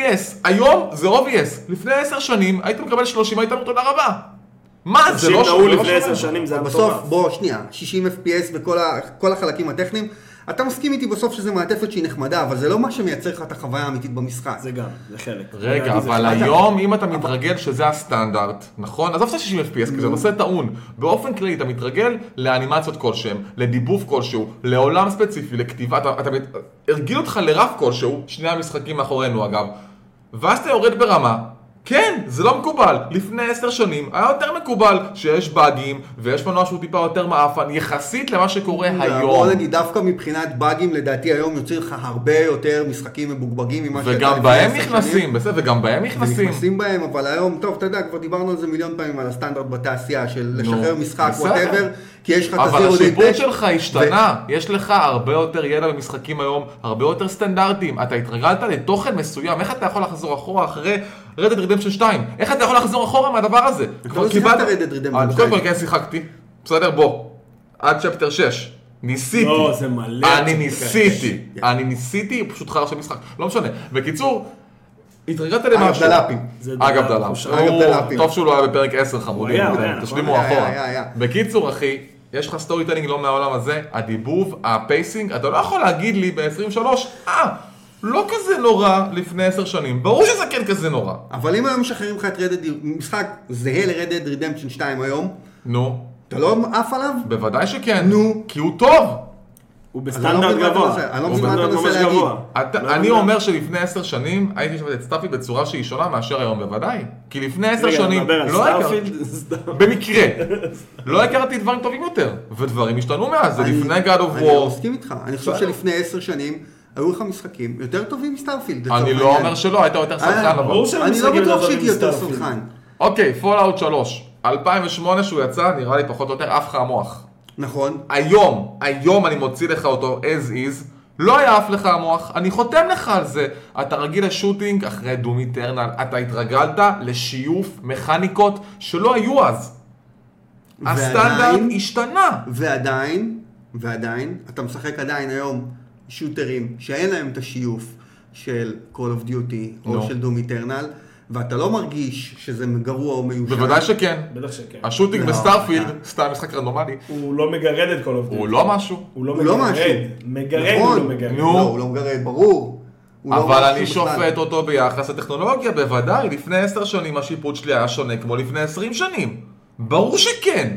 S1: היום זה obvious, לפני 10 שנים היית מקבל 30, היית אומר תודה רבה. מה זה
S2: אנשים
S1: לא
S2: נעו
S1: שונה?
S2: לפני עשר שנים, זה היה
S4: בסוף,
S2: מטורף.
S4: בוא, שנייה, 60 FPS בכל ה- כל החלקים הטכניים. אתה מסכים איתי בסוף שזו מעטפת שהיא נחמדה, אבל זה לא מה שמייצר לך את החוויה האמיתית במשחק.
S2: זה גם, זה חלק.
S1: רגע,
S2: לדעתי זה
S1: אבל
S2: חלק.
S1: היום אם אתה מתרגל שזה הסטנדרט, נכון? עזוב את ה-60 FPS, כי זה נושא טעון. באופן כללי אתה מתרגל לאנימציות כלשהם, לדיבוב כלשהו, לעולם ספציפי, לכתיבה, אתה- אתה מת- הרגילו אותך לרף כלשהו, שני המשחקים מאחורינו אגב, ואז אתה יורד ברמה. כן, זה לא מקובל. לפני עשר שנים היה יותר מקובל שיש באגים ויש מנוע שהוא טיפה יותר מעפן יחסית למה שקורה היום.
S4: בוא נגיד, דווקא מבחינת באגים, לדעתי היום יוצא לך הרבה יותר משחקים מבוגבגים ממה שאתה
S1: וגם
S4: לפני
S1: בהם
S4: עשר
S1: נכנסים, בסדר, וגם בהם נכנסים.
S4: נכנסים בהם, אבל היום, טוב, אתה יודע, כבר דיברנו על זה מיליון פעמים, על הסטנדרט בתעשייה של
S1: נו,
S4: לשחרר משחק,
S1: בסדר.
S4: וואטאבר, כי יש לך את
S1: אבל
S4: הזירו די
S1: השיפוט
S4: טק.
S1: שלך השתנה, יש לך הרבה יותר ידע במשחקים היום, הרבה יותר סטנדרטים, אתה התרגלת לתוכן מסוים, איך אתה יכול לחזור אחורה אחרי Red Dead Redemption 2? איך אתה יכול לחזור אחורה מהדבר הזה? כבר
S4: לא
S1: קיבלת-
S4: שיחקת Red Dead Redemption
S1: אה,
S4: 2.
S1: קודם כל כן שיחקתי, בסדר בוא, עד צ'פטר 6, ניסיתי.
S2: לא, זה מלא.
S1: אני ניסיתי, אני ניסיתי, פשוט חרא של משחק, לא משנה. בקיצור, התרגלת למשהו.
S4: דלאפים.
S2: זה
S1: אגב
S2: דלאפ,
S1: דלאפ.
S2: חושה.
S4: אגב,
S1: הוא-
S4: דלאפים.
S1: טוב שהוא לא היה בפרק 10 חמודים,
S2: הוא היה, הוא היה,
S1: תשלימו
S4: נכון. היה,
S1: אחורה.
S4: היה, היה.
S1: בקיצור אחי, יש לך סטורי טלינג לא מהעולם הזה, הדיבוב, הפייסינג, אתה לא יכול להגיד לי ב-23, אה, לא כזה נורא לפני 10 שנים, ברור שזה כן כזה נורא.
S4: אבל אם היו משחררים לך את רדד, משחק זהה לרד דד רדמפשן 2 היום,
S1: נו,
S4: אתה לא עף עליו?
S1: בוודאי שכן.
S4: נו.
S1: כי הוא טוב.
S2: הוא
S4: אני לא
S2: בסטנדרט
S4: מבין מה אתה
S2: גבוה.
S4: מנסה- אני לא
S2: הוא
S4: מבין מה אתה
S2: בסטנדרט
S4: מנסה
S2: ממש
S4: להגיד.
S2: גבוה. לא
S1: אתה, אני
S2: יודע.
S1: אומר שלפני עשר שנים הייתי שומע את סטארפילד בצורה שהיא שונה מאשר היום בוודאי. כי לפני עשר
S2: רגע,
S1: שנים
S2: נדבר על
S1: לא הכרתי,
S2: [laughs] סטארפילד, סתם.
S1: במקרה, לא הכרתי דברים טובים יותר. ודברים השתנו מאז, זה
S4: אני-
S1: לפני God of
S4: אני לא
S1: War.
S4: מסכים איתך, אני חושב
S1: בסדר.
S4: שלפני עשר שנים היו לך משחקים יותר טובים
S1: אני
S4: מסטארפילד. לצורך
S1: לא
S4: העניין.
S1: אומר שלא, היית יותר
S4: אה,
S1: סלחן אבל.
S2: ברור שהמשחקים
S4: אני לא
S2: יותר
S4: בטוח
S2: טובים
S4: שהייתי יותר
S2: מסטארפילד.
S4: סלחן.
S1: אוקיי, פולאאוט 3. 2008 שהוא יצא, נראה לי פחות או יותר עף לך המוח.
S4: נכון.
S1: היום, היום אני מוציא לך אותו as is, לא היה עף לך המוח, אני חותם לך על זה. אתה רגיל לשוטינג אחרי דום איטרנל, אתה התרגלת לשיוף מכניקות שלא היו אז. הסטנדרט
S4: ועדיין-
S1: השתנה.
S4: ועדיין, ועדיין, אתה משחק עדיין היום שוטרים שאין להם את השיוף של Call of Duty או
S1: נו.
S4: של Doom Eternal, ואתה לא מרגיש שזה גרוע או מיושן.
S1: בוודאי שכן.
S2: בטח שכן.
S1: השוטינג
S4: לא,
S1: בסטארפילד,
S4: אה.
S1: סתם משחק רנדומלי,
S2: הוא לא מגרד את כל עובדים.
S1: הוא לא משהו.
S2: הוא לא
S4: הוא לא
S2: מגרד.
S4: משהו.
S2: מגרד הוא
S4: נכון.
S2: לא מגרד.
S1: נו.
S4: לא, הוא לא מגרד, ברור. הוא לא
S1: אבל
S4: משהו
S1: אני
S4: בכלל.
S1: שופט אותו ביחס לטכנולוגיה, בוודאי. לפני עשר שנים השיפוט שלי היה שונה כמו לפני עשרים שנים. ברור שכן.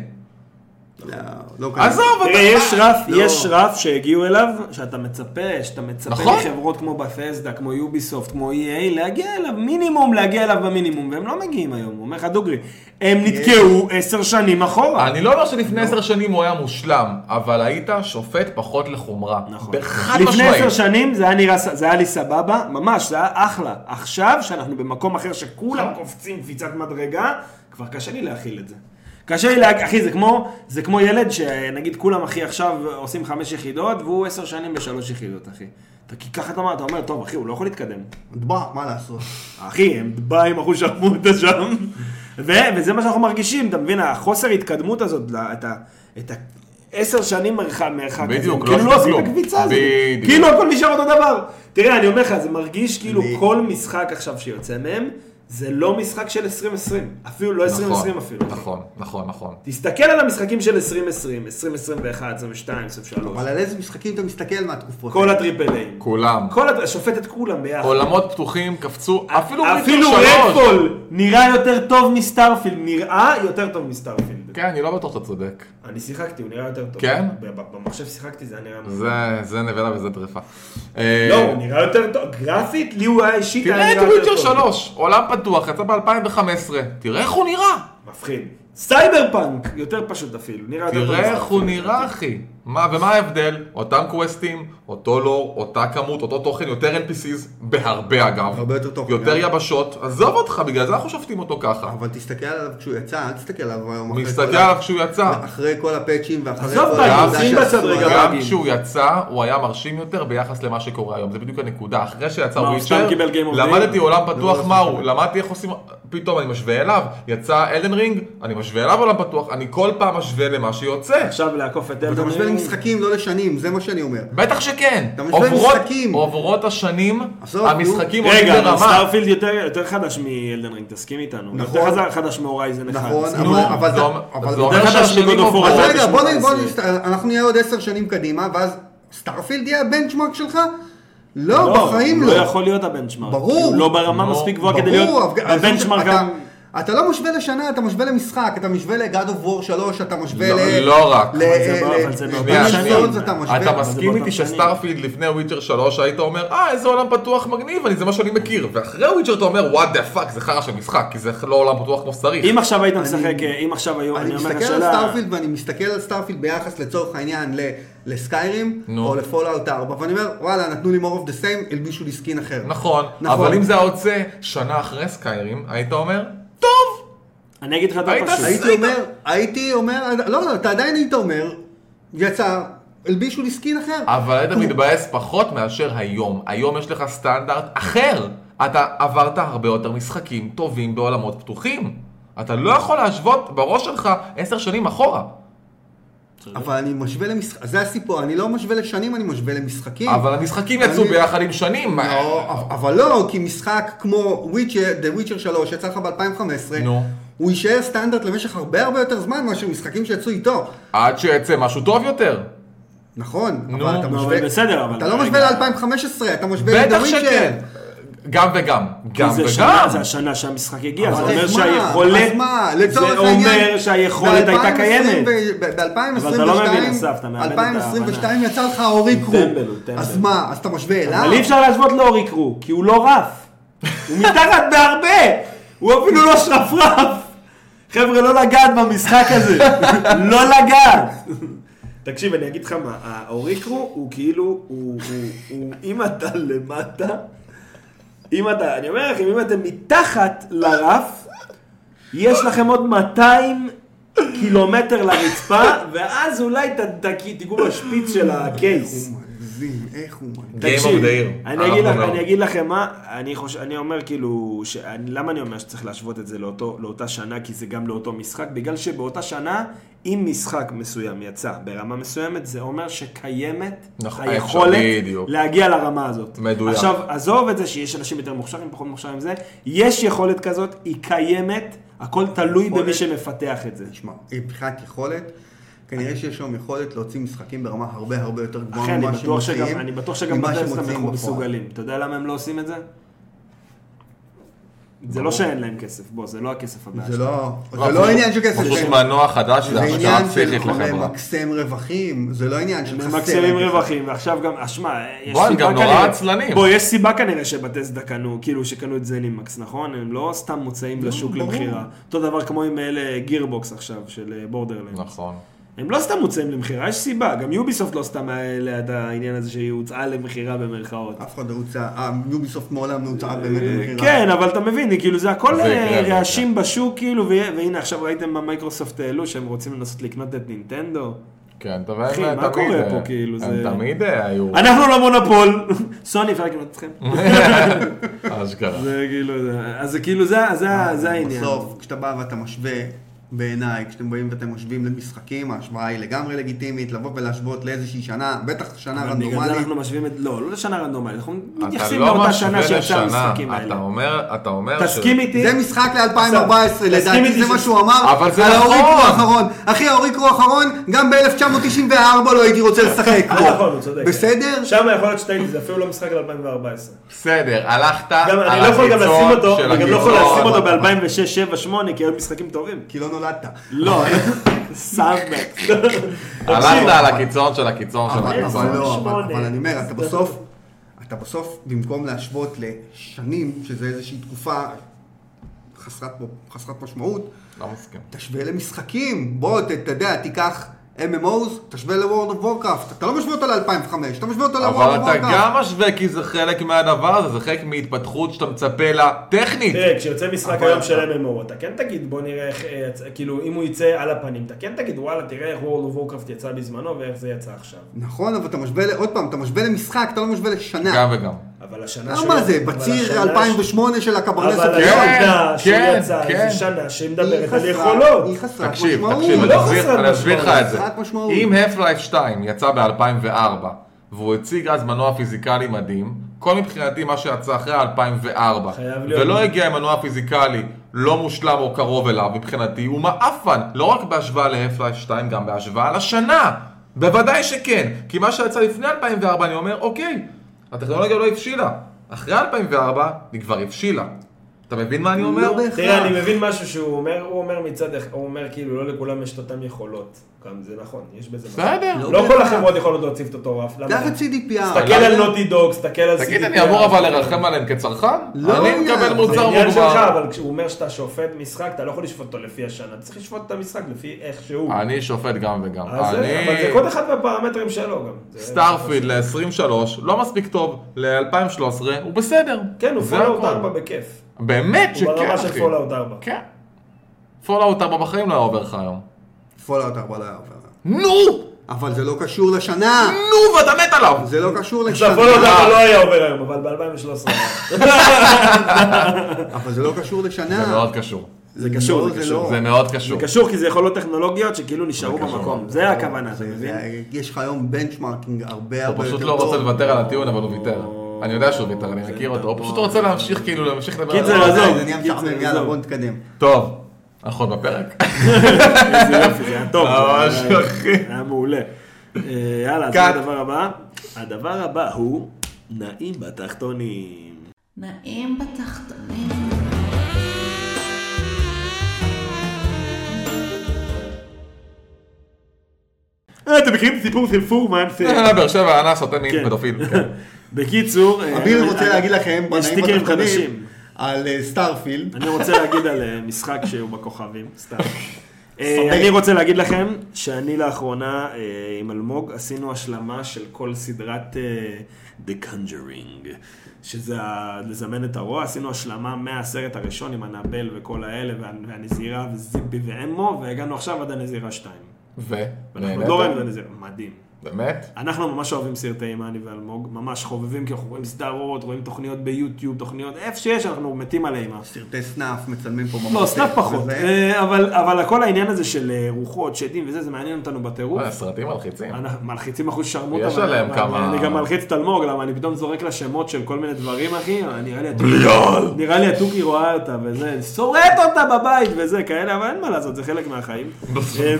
S4: לא, לא כנראה.
S1: עזוב,
S2: תראה,
S1: אתה-
S2: יש רף,
S4: לא.
S2: יש רף שהגיעו אליו, שאתה מצפה, שאתה מצפה
S1: נכון.
S2: לחברות כמו בפסדה, כמו יוביסופט, כמו EA, להגיע אליו, מינימום, להגיע אליו במינימום, והם לא מגיעים היום, אומר לך דוגרי. הם נתקעו עשר שנים אחורה.
S1: אני לא אומר שלפני עשר שנים הוא היה מושלם, אבל היית שופט פחות לחומרה.
S2: נכון.
S1: בחד
S2: לפני עשר
S1: משמעית.
S2: שנים זה היה נראה, ס- זה היה לי סבבה, ממש, זה היה אחלה. עכשיו, שאנחנו במקום אחר שכולם
S1: נכון.
S2: קופצים קפיצת מדרגה, כבר קשה לי להכיל את זה. קשה לי להכיל, אחי, זה כמו, זה כמו ילד שנגיד כולם, אחי, עכשיו עושים חמש יחידות, והוא עשר שנים בשלוש יחידות, אחי. אתה כי ככה אתה אומר, אתה אומר, טוב, אחי, הוא לא יכול להתקדם.
S4: דבע, מה לעשות?
S2: אחי, הם באים אחוז שרפו אותה שם. ו- וזה מה שאנחנו מרגישים, אתה מבין? החוסר התקדמות הזאת, ל- את ה... את ה- עשר שנים מרחק, מרחק, הזה.
S1: בדיוק, לא
S2: כאילו לא
S1: עשו
S2: עושים את
S1: כלום.
S2: הקביצה הזאת,
S1: בדיוק.
S2: כאילו הכל נשאר אותו דבר. תראה, אני אומר לך, זה מרגיש כאילו
S4: אני-
S2: כל משחק עכשיו שיוצא מהם, זה לא משחק של 2020, אפילו לא 2020
S1: נכון,
S2: אפילו.
S1: נכון, נכון, נכון.
S2: תסתכל על המשחקים של 2020, 2021, 2022, 2023,
S4: אבל על איזה משחקים אתה מסתל מהתקופות?
S2: כל
S4: האלה?
S2: הטריפל איי.
S1: כולם.
S2: כל הט- שופט את כולם ביחד.
S1: עולמות פתוחים קפצו, אפילו
S2: אפילו
S1: ריטר שלוש.
S2: רדפול נראה יותר טוב מסטארפילד, נראה יותר טוב מסטארפילד.
S1: כן, אני לא בטוח שאתה צודק.
S2: אני שיחקתי, הוא נראה יותר טוב.
S1: כן?
S2: ב- ב- במחשב שיחקתי, זה היה נראה... מאוד טוב.
S1: זה- זה נבלה וזה טריפה.
S2: לא, הוא נראה יותר טוב. גרפית, לי הוא היה אישית, היה
S1: תראה את
S2: נראה יותר
S1: וויצ'ר
S2: טוב.
S1: 3, עולם פתוח, יצא ב-2015. תראה איך הוא נראה.
S2: מפחיד. סייבר פאנק, יותר פשוט אפילו, נראה יותר טוב.
S1: תראה איך הוא
S2: מסטארפילד.
S1: נראה, אחי. מה, ומה ההבדל? אותם קווסטים, אותו לור, אותה כמות, אותו תוכן, יותר NPCs, בהרבה אגב.
S4: הרבה יותר תוכן,
S1: יותר
S4: גם.
S1: יבשות. עזוב אותך, בגלל זה אנחנו שופטים אותו ככה.
S4: אבל תסתכל עליו כשהוא יצא, אל תסתכל עליו היום.
S1: הוא
S4: אחרי
S1: מסתכל
S4: כל ה-
S1: עליו כשהוא יצא.
S4: אחרי כל הפאצ'ים ואחרי
S2: עזוב,
S4: כל
S2: די,
S4: העבודה
S2: שים
S4: שעשו
S2: בצד רגע,
S4: עליו.
S1: גם
S2: להגיד.
S1: כשהוא יצא, הוא היה מרשים יותר ביחס למה שקורה היום. זה בדיוק הנקודה. אחרי שיצא
S2: מה, הוא סתם
S1: וויצ'ר,
S2: קיבל Game of the
S1: למדתי
S2: Year?
S1: עולם פתוח
S4: לא,
S1: מהו, למדתי איך עושים... פתאום אני משווה אליו. יצא אלדן רינג, אני משווה אליו עולם פתוח, אני כל פעם משווה למה שיוצא.
S2: עכשיו לעקוף את
S4: אתה
S2: אלדון
S4: משווה
S2: רינג.
S4: למשחקים, לא לשנים, זה מה שאני אומר.
S1: בטח שכן.
S4: אתה משווה
S1: עוברות-
S4: משחקים.
S1: עוברות השנים,
S4: עזוב,
S1: המשחקים עולים
S2: רגע, אבל
S1: ברמה.
S2: סטארפילד יותר- יותר חדש מאלדן רינג, תסכים איתנו.
S4: נכון.
S2: יותר חזק- חדש מהורייזן 1.
S4: נכון,
S2: תסכים
S1: נו,
S4: אבל- אבל-
S1: זה אומר-
S4: אבל-
S1: זה אומר
S2: דרך אגב,
S1: שהשנים
S2: God of War
S1: עוברות.
S4: אז
S2: עדיין
S4: רגע, בוא נ- בוא
S2: 18.
S4: נשת... אנחנו נהיה עוד עשר שנים קדימה, ואז סטארפילד יהיה הבנצ'מרק שלך? לא,
S2: לא,
S4: בחיים
S2: הוא
S4: לא.
S2: לא יכול להיות הבנצ'מרק.
S4: ברור.
S2: הוא לא ברמה
S1: נו,
S2: מספיק גבוהה כדי
S4: ברור,
S2: להיות
S4: אבל-
S2: הבנצ'מרק.
S4: אתה-
S2: גם-
S4: אתה לא משווה לשנה, אתה משווה למשחק, אתה משווה ל-God of War 3, אתה משווה
S1: לא-
S4: ל...
S1: לא רק.
S4: ל-
S2: אבל זה
S4: ל-
S2: בא- אבל זה לא-
S4: ל-
S2: באותן
S4: ל-
S1: שנים.
S4: Souls אתה משווה.
S1: אתה
S2: אבל זה
S1: מסכים
S2: באותם
S1: איתי
S2: שנים.
S1: שסטארפילד לפני וויצ'ר 3 היית אומר אה איזה עולם פתוח מגניב אני זה מה שאני מכיר ואחרי וויצ'ר אתה אומר וואט דה פאק זה חרא של משחק כי זה לא עולם פתוח כמו שצריך.
S2: אם עכשיו היית משחק, אה, אם עכשיו היו,
S4: אני
S2: אני אומר לך
S4: מסתכל על
S2: שאלה,
S4: סטארפילד ואני מסתכל על סטארפילד ביחס לצורך העניין ל- לסקיירים,
S1: נו.
S4: או לפולאאוט 4, ואני אומר, וואלה, נתנו לי more of the same, הלבישו לי סקין אחר.
S1: נכון
S4: נכון.
S1: אבל אם זה היה יוצא שנה אחרי סקיירים היית אומר טוב
S2: אני אגיד לך יותר
S1: היית
S2: פשוט.
S1: עשרים.
S4: הייתי אומר, הייתי אומר, לא, לא, אתה עדיין היית אומר, יצא, הלבישו לי סקין אחר.
S1: אבל היית מתבאס פחות מאשר היום היום יש לך סטנדרט אחר אתה עברת הרבה יותר משחקים טובים בעולמות פתוחים אתה לא יכול להשוות בראש שלך עשר שנים אחורה.
S4: אבל אני משווה למשחק, זה הסיפור, אני לא משווה לשנים, אני משווה למשחקים.
S1: אבל המשחקים יצאו
S4: אני-
S1: ביחד עם שנים.
S4: לא, אבל לא, כי משחק כמו וויצ'ר, The Witcher 3, יצא לך ב-2015,
S1: נו.
S4: הוא יישאר סטנדרט למשך הרבה הרבה יותר זמן מאשר משחקים שיצאו איתו.
S1: עד שיצא משהו טוב יותר.
S4: נכון,
S1: נו,
S4: אבל אתה
S2: נו,
S4: משווה...
S2: אבל בסדר, אבל...
S4: אתה לא משווה ל-2015, אתה משווה ל-The
S1: בטח
S4: Witcher.
S1: שכן.
S4: כן.
S1: גם וגם. גם
S2: זה
S1: וגם.
S2: שנה, זה השנה שהמשחק הגיע,
S4: אז
S2: זה אומר
S4: מה?
S2: שהיכולת,
S4: אז מה?
S2: זה
S4: לצורך העניין,
S2: אומר שהיכולת הייתה קיימת. אבל אתה לא מבין, אסף, אתה
S4: ב-2022,
S2: מאבד את ההבנה.
S4: 2022 יצא לך אורי
S2: הוא
S4: קרו.
S2: טמבל, הוא טמבל.
S4: אז מה, אז אתה משווה אליו?
S2: אבל אי אפשר להשוות לאורי קרו, כי הוא לא רף. הוא מתחת בהרבה! הוא אפילו לא שרפרף! חבר'ה, לא לגעת במשחק הזה. לא לגעת! תקשיב, אני אגיד לך מה, האורי קרו הוא כאילו, הוא- הוא, הוא- אם אתה למטה, אם אתה, אני אומר לכם, אם אתם מתחת לרף, יש לכם עוד 200 קילומטר לרצפה, ואז אולי ת- ת- תיגעו בשפיץ של הקייס.
S4: מגזים, איך הוא מגזים.
S1: Game of the Year.
S2: אני
S1: אנחנו
S2: אגיד, לך,
S1: לא.
S2: אני אגיד לכם מה, אני, חוש... אני אומר כאילו, ש... אני- למה אני אומר שצריך להשוות את זה לאותו, לאותה שנה, כי זה גם לאותו משחק? בגלל שבאותה שנה, אם משחק מסוים יצא ברמה מסוימת, זה אומר שקיימת
S1: נכון,
S2: היכולת
S1: אפשר, בדיוק.
S2: להגיע לרמה הזאת.
S1: מדויק.
S2: עכשיו, עזוב את זה שיש אנשים יותר מוכשרים, פחות מוכשרים זה, יש יכולת כזאת, היא קיימת, הכל תלוי
S4: יכולת.
S2: במי שמפתח את זה.
S4: תשמע, מבחינת יכולת, כנראה שיש היום יכולת להוציא משחקים ברמה הרבה הרבה יותר
S2: אחי,
S4: גבוהה
S2: אני
S4: ממה
S2: בטוח
S4: שמוציאים,
S2: שגם, אני בטוח שגם
S4: ממה
S2: בטסטם
S4: שמוציאים
S2: אנחנו
S4: בפועל.
S2: מסוגלים. אתה יודע למה הם לא עושים את זה? זה
S1: ברור.
S2: לא שאין להם כסף, בוא, זה לא הכסף הבעיה
S4: זה
S2: שלהם.
S4: לא, זה לא עניין של כסף,
S1: פשוט
S4: זה-
S1: מנוע חדש
S4: זה
S1: זה
S4: עניין
S1: השקעה
S4: של
S1: פסיכית לחברה.
S4: למקסם רווחים, זה לא עניין של
S2: הם
S4: חסר.
S2: ממקסמים
S4: כסף.
S2: רווחים, ועכשיו גם, אה, שמע, יש
S1: בוא, הם
S2: סיבה
S1: גם נורא
S2: כנראה,
S1: עצלנים.
S2: בוא, יש סיבה כנראה שבטסדה קנו, כאילו שקנו את זנימקס, נכון? הם לא סתם מוצאים לשוק
S4: ברור.
S2: למכירה. אותו דבר כמו עם אלה גירבוקס עכשיו, של אה, בורדרלנד.
S1: נכון.
S2: הם לא סתם מוצאים למכירה, יש סיבה, גם יוביסופט לא סתם היה לה את העניין הזה שהיא הוצאה למכירה במרכאות.
S4: אף אחד לא הוצא, אה, יוביסופט מעולם לא הוצאה באמת במכירה.
S2: כן, אבל אתה מבין, כאילו זה הכל
S1: זה יקרה, זה כן.
S2: רעשים בשוק, כאילו, ו- והנה עכשיו ראיתם מה מייקרוסופט העלו, שהם רוצים לנסות לקנות את נינטנדו.
S1: כן, אתה מבין,
S2: אחי, מה
S1: תמיד,
S2: קורה
S1: אה,
S2: פה, כאילו,
S1: הם
S2: זה-
S1: תמיד אה, היו...
S2: אנחנו לא מונופול, [laughs] סוני אפשר לקנות אתכם.
S1: [laughs] אשכרה.
S2: זה כאילו, זה- אז זה כאילו, זה-
S1: אה,
S2: זה- זה העניין.
S4: בסוף, כשאתה בא ואתה משווה, בעיניי, כשאתם באים ואתם משווים למשחקים, ההשוואה היא לגמרי לגיטימית, לבוא ולהשוות לאיזושהי שנה, בטח
S2: אבל
S4: שנה
S2: בגלל זה
S4: רנדומלית.
S2: אנחנו משווים את, לא, לא לשנה רנדומלית, אנחנו
S1: אתה
S2: מתייחסים
S1: לא
S2: לאותה
S1: משווה
S2: שנה שיצא
S1: לשנה,
S2: המשחקים
S1: אתה
S2: האלה.
S1: אומר, אתה אומר
S2: תסכים איתי?
S4: זה משחק ל-2014,
S2: תסכים איתי
S4: לדעתי זה
S2: ש-
S4: מה שהוא אמר,
S1: אבל זה
S4: על
S1: נכון.
S4: האוריק הוא האחרון. אחי, האוריק הוא האחרון, גם ב-1994 לא הייתי רוצה לשחק
S5: אה, נכון, הוא
S4: בו.
S2: כן.
S5: צודק.
S4: בסדר?
S5: שם יכול להיות שטעיתי, זה אפילו לא משחק על 2014.
S1: בסדר, הלכת
S5: גם
S1: על
S5: אני לא יכול גם
S1: הקיצון
S5: לשים אותו,
S1: של
S5: אני גם לא יכול
S1: הקיצון.
S5: לשים
S2: שים אותו ב-2006, 2007, 2008, כי היו משחקים טובים.
S4: כי לא נולדת.
S2: לא, סאבמקס.
S1: הלכת על הקיצון של הקיצון של
S4: אבל
S1: הקיצון.
S4: אבל לא, אבל-
S5: שמונה. לא.
S4: אבל אני אומר, אתה בסוף, אתה בסוף, במקום להשוות לשנים, שזה איזושהי תקופה חסרת חסרת משמעות,
S1: לא מסכים.
S4: תשווה למשחקים, בוא, ת- אתה יודע, תיקח MMOs, תשווה ל-World of Warcraft, אתה לא משווה אותו ל-2005, אתה משווה אותו ל-World of Warcraft.
S1: אבל אתה גם משווה כי זה חלק מהדבר הזה, זה חלק מהתפתחות שאתה מצפה לה טכנית.
S5: תראה, כשיוצא משחק
S4: אבל
S5: היום
S4: אתה-
S5: של MMO, אתה כן תגיד, בוא נראה איך, אה, יצא- כאילו, אם הוא יצא על הפנים, אתה כן תגיד, וואלה, תראה איך World of Warcraft יצא בזמנו ואיך זה יצא עכשיו.
S4: נכון, אבל אתה משווה, ל- עוד פעם, אתה משווה למשחק, אתה לא משווה לשנה.
S1: גם וגם.
S5: אבל השנה
S4: למה זה, בציר 2008 של הקברנס
S5: אבל
S1: כן,
S5: השנה שהוא
S1: כן,
S5: יצא,
S1: כן.
S5: זו שנה שהיא
S4: היא
S5: מדברת על
S4: חסרת-
S5: יכולות.
S4: היא חסרת
S1: תקשיב,
S4: משמעות.
S1: תקשיב, אני
S5: לא
S1: אסביר-
S5: חסרת
S1: אני אסביר לך
S5: משמעות,
S1: את זה.
S4: חסרת משמעות.
S1: אם Half-Life 2 יצא ב-2004, והוא הציג אז מנוע פיזיקלי מדהים, כל מבחינתי מה שיצא אחרי 2004,
S5: חייב להיות.
S1: ולא הגיע עם מנוע פיזיקלי לא מושלם או קרוב אליו, מבחינתי הוא מעפן, לא רק בהשוואה ל-Half-Life 2, גם בהשוואה לשנה. בוודאי שכן, כי מה שיצא לפני 2004, אני אומר, אוקיי, הטכנולוגיה לא הבשילה. אחרי 2004, היא כבר הבשילה. אתה מבין מה אני אומר?
S4: לא בהכרח.
S5: תראה, אני מבין משהו שהוא אומר, הוא אומר מצד אחד, הוא אומר כאילו, לא לכולם יש את אותן יכולות. גם זה נכון, יש בזה משהו.
S1: בסדר.
S4: לא
S5: לא כל
S4: בהכרח.
S5: החברות יכולות להציב את אותו רף. למה?
S4: תחת CDPR.
S5: תסתכל על נוטי דוג, תסתכל על
S1: תגיד,
S5: CDPR.
S1: אני אמור אבל לרחם עליהם כצרכן?
S4: לא
S1: אני
S4: עניין.
S1: מקבל
S5: זה
S1: מוצר
S5: עניין שלך,
S1: מוגבר.
S5: אבל כשהוא אומר שאתה שופט משחק, אתה לא יכול לשפוט אותו לפי השנה, אתה צריך לשפוט את המשחק לפי איך שהוא.
S1: אני שופט גם וגם.
S5: אז זה- אבל זה
S1: אני...
S5: כל אחד מהפרמטרים שלו גם. זה-
S1: סטארפילד ל-23, לא מספיק טוב, ל-2013, הוא בסדר.
S5: כן, הוא
S1: זה
S5: פולאאוט
S1: הכל.
S5: 4 בכיף.
S1: באמת
S5: הוא
S1: שכן,
S5: ברמה של
S1: אחי.
S5: פולאאוט 4.
S1: כן. פולאאוט 4 בחיים לא היה עובר לך היום.
S4: פולאאוט 4 לא היה עובר.
S1: נו!
S4: אבל זה לא קשור לשנה.
S1: נו, ואתה מת עליו!
S4: זה לא קשור
S5: עכשיו,
S4: לשנה.
S5: פולאאוט 4 לא היה עובר היום, אבל ב-2013 היה.
S4: אבל זה לא קשור לשנה.
S1: זה מאוד קשור.
S2: זה קשור,
S4: לא,
S2: זה
S4: זה
S2: קשור.
S4: לא.
S1: זה מאוד קשור.
S2: זה קשור כי זה יכולות טכנולוגיות שכאילו נשארו
S1: זה לא- קשור.
S2: במקום, זה הכוונה, אתה
S4: זה-
S2: מבין?
S4: זה- יש לך היום בנצ'מארקינג הרבה
S1: הוא
S4: הרבה יותר
S1: פשוט
S4: טוב.
S1: לא רוצה לוותר על הטיעון, אבל הוא ויתר. אני יודע שהוא ויתר, אני
S2: זה
S1: מכיר אותו. הוא
S2: נכון.
S1: פשוט רוצה להמשיך, כאילו, להמשיך לדבר
S2: קיצר,
S1: על
S2: אז-
S1: זה.
S2: עזוב,
S4: זה נהיה
S2: קיצר,
S4: משעמם, יאללה
S2: עזוב.
S4: בוא נתקדם.
S1: טוב, אנחנו עוד בפרק?
S2: איזה יופי, זה היה טוב.
S1: ממש,
S2: זה היה-
S1: אחי.
S2: היה מעולה. אה, יאללה, אז
S1: קאט.
S2: מה הדבר הבא? הדבר הבא הוא נעים בתחתונים.
S6: נעים בתחתונים.
S2: אה, אתם מכירים את הסיפור של פורמן? ש-
S1: אה, באר שבע אנס אותה
S2: כן.
S1: מין
S2: [laughs]
S1: פדופיל. כן.
S2: בקיצור, אה,
S4: אביר
S2: אני-
S4: רוצה להגיד לכם,
S2: יש
S4: בנעים
S2: סטיקרים
S4: בתחתונים,
S2: חדשים.
S4: על אה, סטארפילד.
S2: אני רוצה להגיד על אה, משחק שהוא בכוכבים, סתם. אה,
S4: סבבה.
S2: אני רוצה להגיד לכם שאני לאחרונה אה, עם אלמוג עשינו השלמה של כל סדרת אה, The Conjuring, שזה ה- לזמן את הרוע, עשינו השלמה מהסרט הראשון עם הנבל וכל האלה וה- והנזירה וזיפי ואמו, והגענו עכשיו עד הנזירה 2.
S1: ו?
S2: ואנחנו
S1: נהנית?
S2: עוד לא ראינו את הנזירה, מדהים.
S1: באמת?
S2: אנחנו ממש אוהבים סרטי מאני ואלמוג, ממש חובבים, כי אנחנו רואים סדרות, רואים תוכניות ביוטיוב, תוכניות, איפה שיש, אנחנו מתים על אימה.
S4: סרטי סנאף מצלמים פה
S2: לא,
S4: במרתף,
S2: סנאפ פחות,
S4: וזה-
S2: אה, אבל אבל כל העניין הזה של אה, רוחות, שדים וזה, זה מעניין אותנו בטירוף.
S1: אה, סרטים מלחיצים. [laughs]
S2: אנחנו מלחיצים אחוז שרמוטה.
S1: יש
S2: אבל-
S1: עליהם
S2: אבל
S1: כמה-
S2: אני גם מלחיץ את אלמוג, למה אני פתאום זורק לה שמות של כל מיני דברים, אחי, נראה לי...
S1: בליעל!
S2: נראה לי התוכי רואה אותה וזה, שורט אותה בבית וזה, כאלה, אבל אין מה לעשות, זה חלק מהחיים. אה,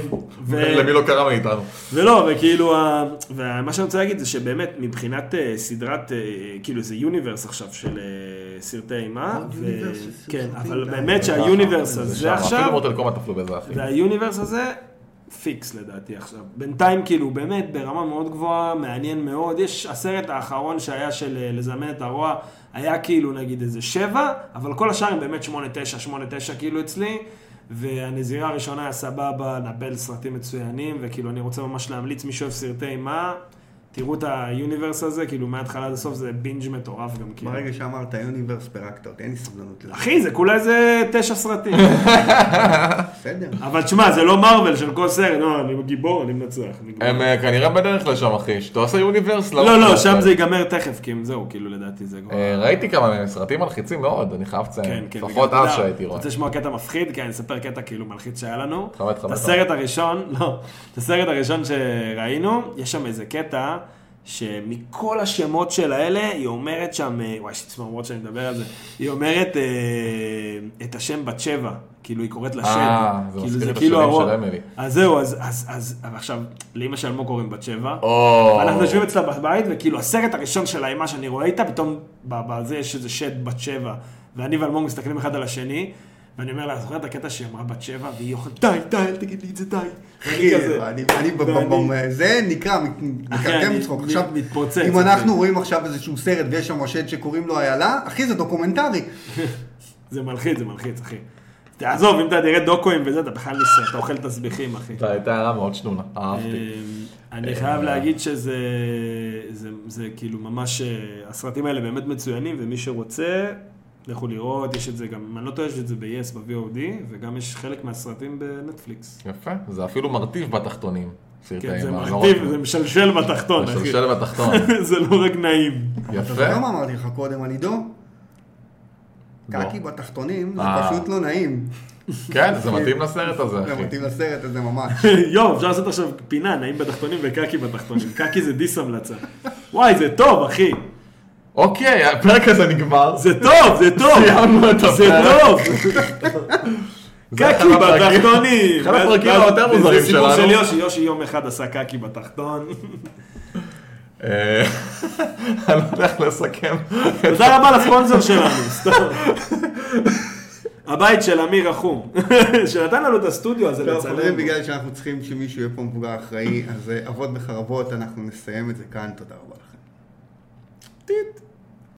S2: ו-
S1: למי לא קרה מאיתנו?
S2: ולא, וכאילו, ה- ומה שאני רוצה להגיד זה שבאמת, מבחינת אה, סדרת, אה, כאילו זה יוניברס עכשיו של אה, סרטי אימה.
S4: עוד
S2: ו-
S4: יוניברס של סרטים,
S2: כן, אבל
S4: די.
S2: באמת שהיוניברס
S1: שם,
S2: הזה
S1: אפילו
S2: עכשיו,
S1: מורטל קומט נפלו בזה, אחי.
S2: והיוניברס הזה פיקס לדעתי עכשיו. בינתיים כאילו באמת ברמה מאוד גבוהה, מעניין מאוד. יש הסרט האחרון שהיה של אה, לזמן את הרוע, היה כאילו נגיד איזה שבע, אבל כל השאר הם באמת שמונה תשע, שמונה תשע כאילו אצלי. והנזירה הראשונה היה סבבה, נבל סרטים מצוינים, וכאילו אני רוצה ממש להמליץ, מי שאוהב סרטי אימה, תראו את היוניברס הזה, כאילו מההתחלה עד הסוף זה בינג' מטורף גם כאילו.
S4: ברגע שאמרת יוניברס פירקת אותי, אין לי סבלנות לזה.
S2: אחי, זה כולה איזה תשע סרטים.
S4: בסדר.
S2: אבל תשמע, זה לא מרוויל של כל סרט, לא, אני גיבור, אני מנצח. אני גיבור.
S1: הם אה, כנראה בדרך לשם, אחי. שתעשה יוניברס.
S2: לא, לא, שם זה ייגמר תכף, כי הם זהו, כאילו, לדעתי זה כבר...
S1: אה, ראיתי כמה מהם, סרטים מלחיצים מאוד, אני חייב
S2: כן,
S1: לציין.
S2: כן.
S1: לפחות
S2: וגם,
S1: אז
S2: אתה יודע,
S1: שהייתי רואה.
S2: רוצה לשמוע קטע מפחיד? כן, נספר קטע כאילו מלחיץ שהיה לנו.
S1: תכבד, תכבד.
S2: את הסרט הראשון, [laughs] לא, את הסרט הראשון שראינו, יש שם איזה קטע שמכל השמות של האלה, היא אומרת שם, אה, וואי, יש לי צמרמורות שאני מדבר על זה, היא אומרת אה, את השם בת שבע, כאילו היא קוראת לה
S1: אה, זה
S2: שד. כאילו,
S1: מזכיר לי את
S2: כאילו
S1: השנים
S2: הרוע.
S1: של אמילי.
S2: אז זהו, אז- אז אז- אבל עכשיו, לאמא של אלמוג קוראים בת שבע.
S1: או,
S2: אנחנו יושבים אצלה בבית, וכאילו הסרט הראשון של האימה שאני רואה איתה, פתאום ב- בזה יש איזה שד בת שבע, ואני ואלמוג מסתכלים אחד על השני, ואני אומר לה, זוכרת את הקטע שהיא אמרה בת שבע, והיא יוכלת, די, די, אל תגיד לי את זה, די. ואני
S4: אחי,
S2: כזה.
S4: כן, אני- אני ב- ב-
S2: ואני-
S4: ב- זה נקרא, מת-
S2: אני-
S4: מקרקם צחוק.
S2: אני
S4: עכשיו,
S2: מתפוצץ,
S4: אם
S2: אחי.
S4: אנחנו רואים עכשיו איזשהו סרט ויש שם שד שקוראים לו איילה, אחי זה דוקומנטרי.
S2: זה מלחיץ, זה מלחיץ, אחי. תעזוב, אם אתה תראה דוקואים וזה, אתה בכלל ניסה, אתה אוכל תסביכים, אחי.
S1: זו הייתה הערה מאוד שנונה, אהבתי.
S2: אה, אני חייב להגיד שזה זה, זה כאילו ממש, אה, הסרטים האלה באמת מצוינים, ומי שרוצה, לכו לראות, יש את זה גם, אם אני לא טועה, יש את זה ב-yes, ב-VOD, וגם יש חלק מהסרטים בנטפליקס.
S1: יפה, זה אפילו מרטיב בתחתונים. סרטי
S2: כן, זה
S1: אימה, לא
S2: מרטיב,
S1: רק-
S2: זה משלשל בתחתון, אחי.
S1: משלשל בתחתון.
S2: [laughs] זה לא רק נעים. [laughs]
S4: אתה
S1: יפה.
S4: זוכר מה אמרתי לך קודם על עידו?
S1: לא.
S4: קקי בתחתונים זה
S1: אה.
S4: פשוט לא נעים.
S1: כן, זה מתאים לסרט הזה,
S4: זה
S1: אחי.
S4: מתאים לסרט הזה ממש.
S2: [laughs] יואו, אפשר לעשות עכשיו פינה, נעים בתחתונים וקקי בתחתונים. קקי זה דיס המלצה. וואי, זה טוב, אחי.
S1: אוקיי, הפרק הזה נגמר.
S2: זה טוב, זה טוב.
S1: סיימנו את הפרק.
S2: זה
S1: [laughs]
S2: טוב.
S1: זה אחד
S2: קקי
S1: הפרקים-
S2: בתחתונים.
S1: אחד הפרקים
S2: ואז-
S1: היותר
S2: וזה
S1: מוזרים
S2: סיפור של
S1: שלנו.
S2: יושי, יושי יום אחד עשה קקי
S1: [laughs]
S2: בתחתון.
S1: אה, אני לא יודע איך לסכם.
S2: תודה רבה לספונסר שלנו, סתם. הבית של אמיר רחום, [laughs] שנתן לנו את הסטודיו הזה
S4: טוב, חברים,
S2: לצלם.
S4: בגלל שאנחנו צריכים שמישהו יהיה פה מבוגר אחראי, אז אה, אבות וחרבות, אנחנו נסיים את זה כאן, תודה רבה לכם.
S2: טיט.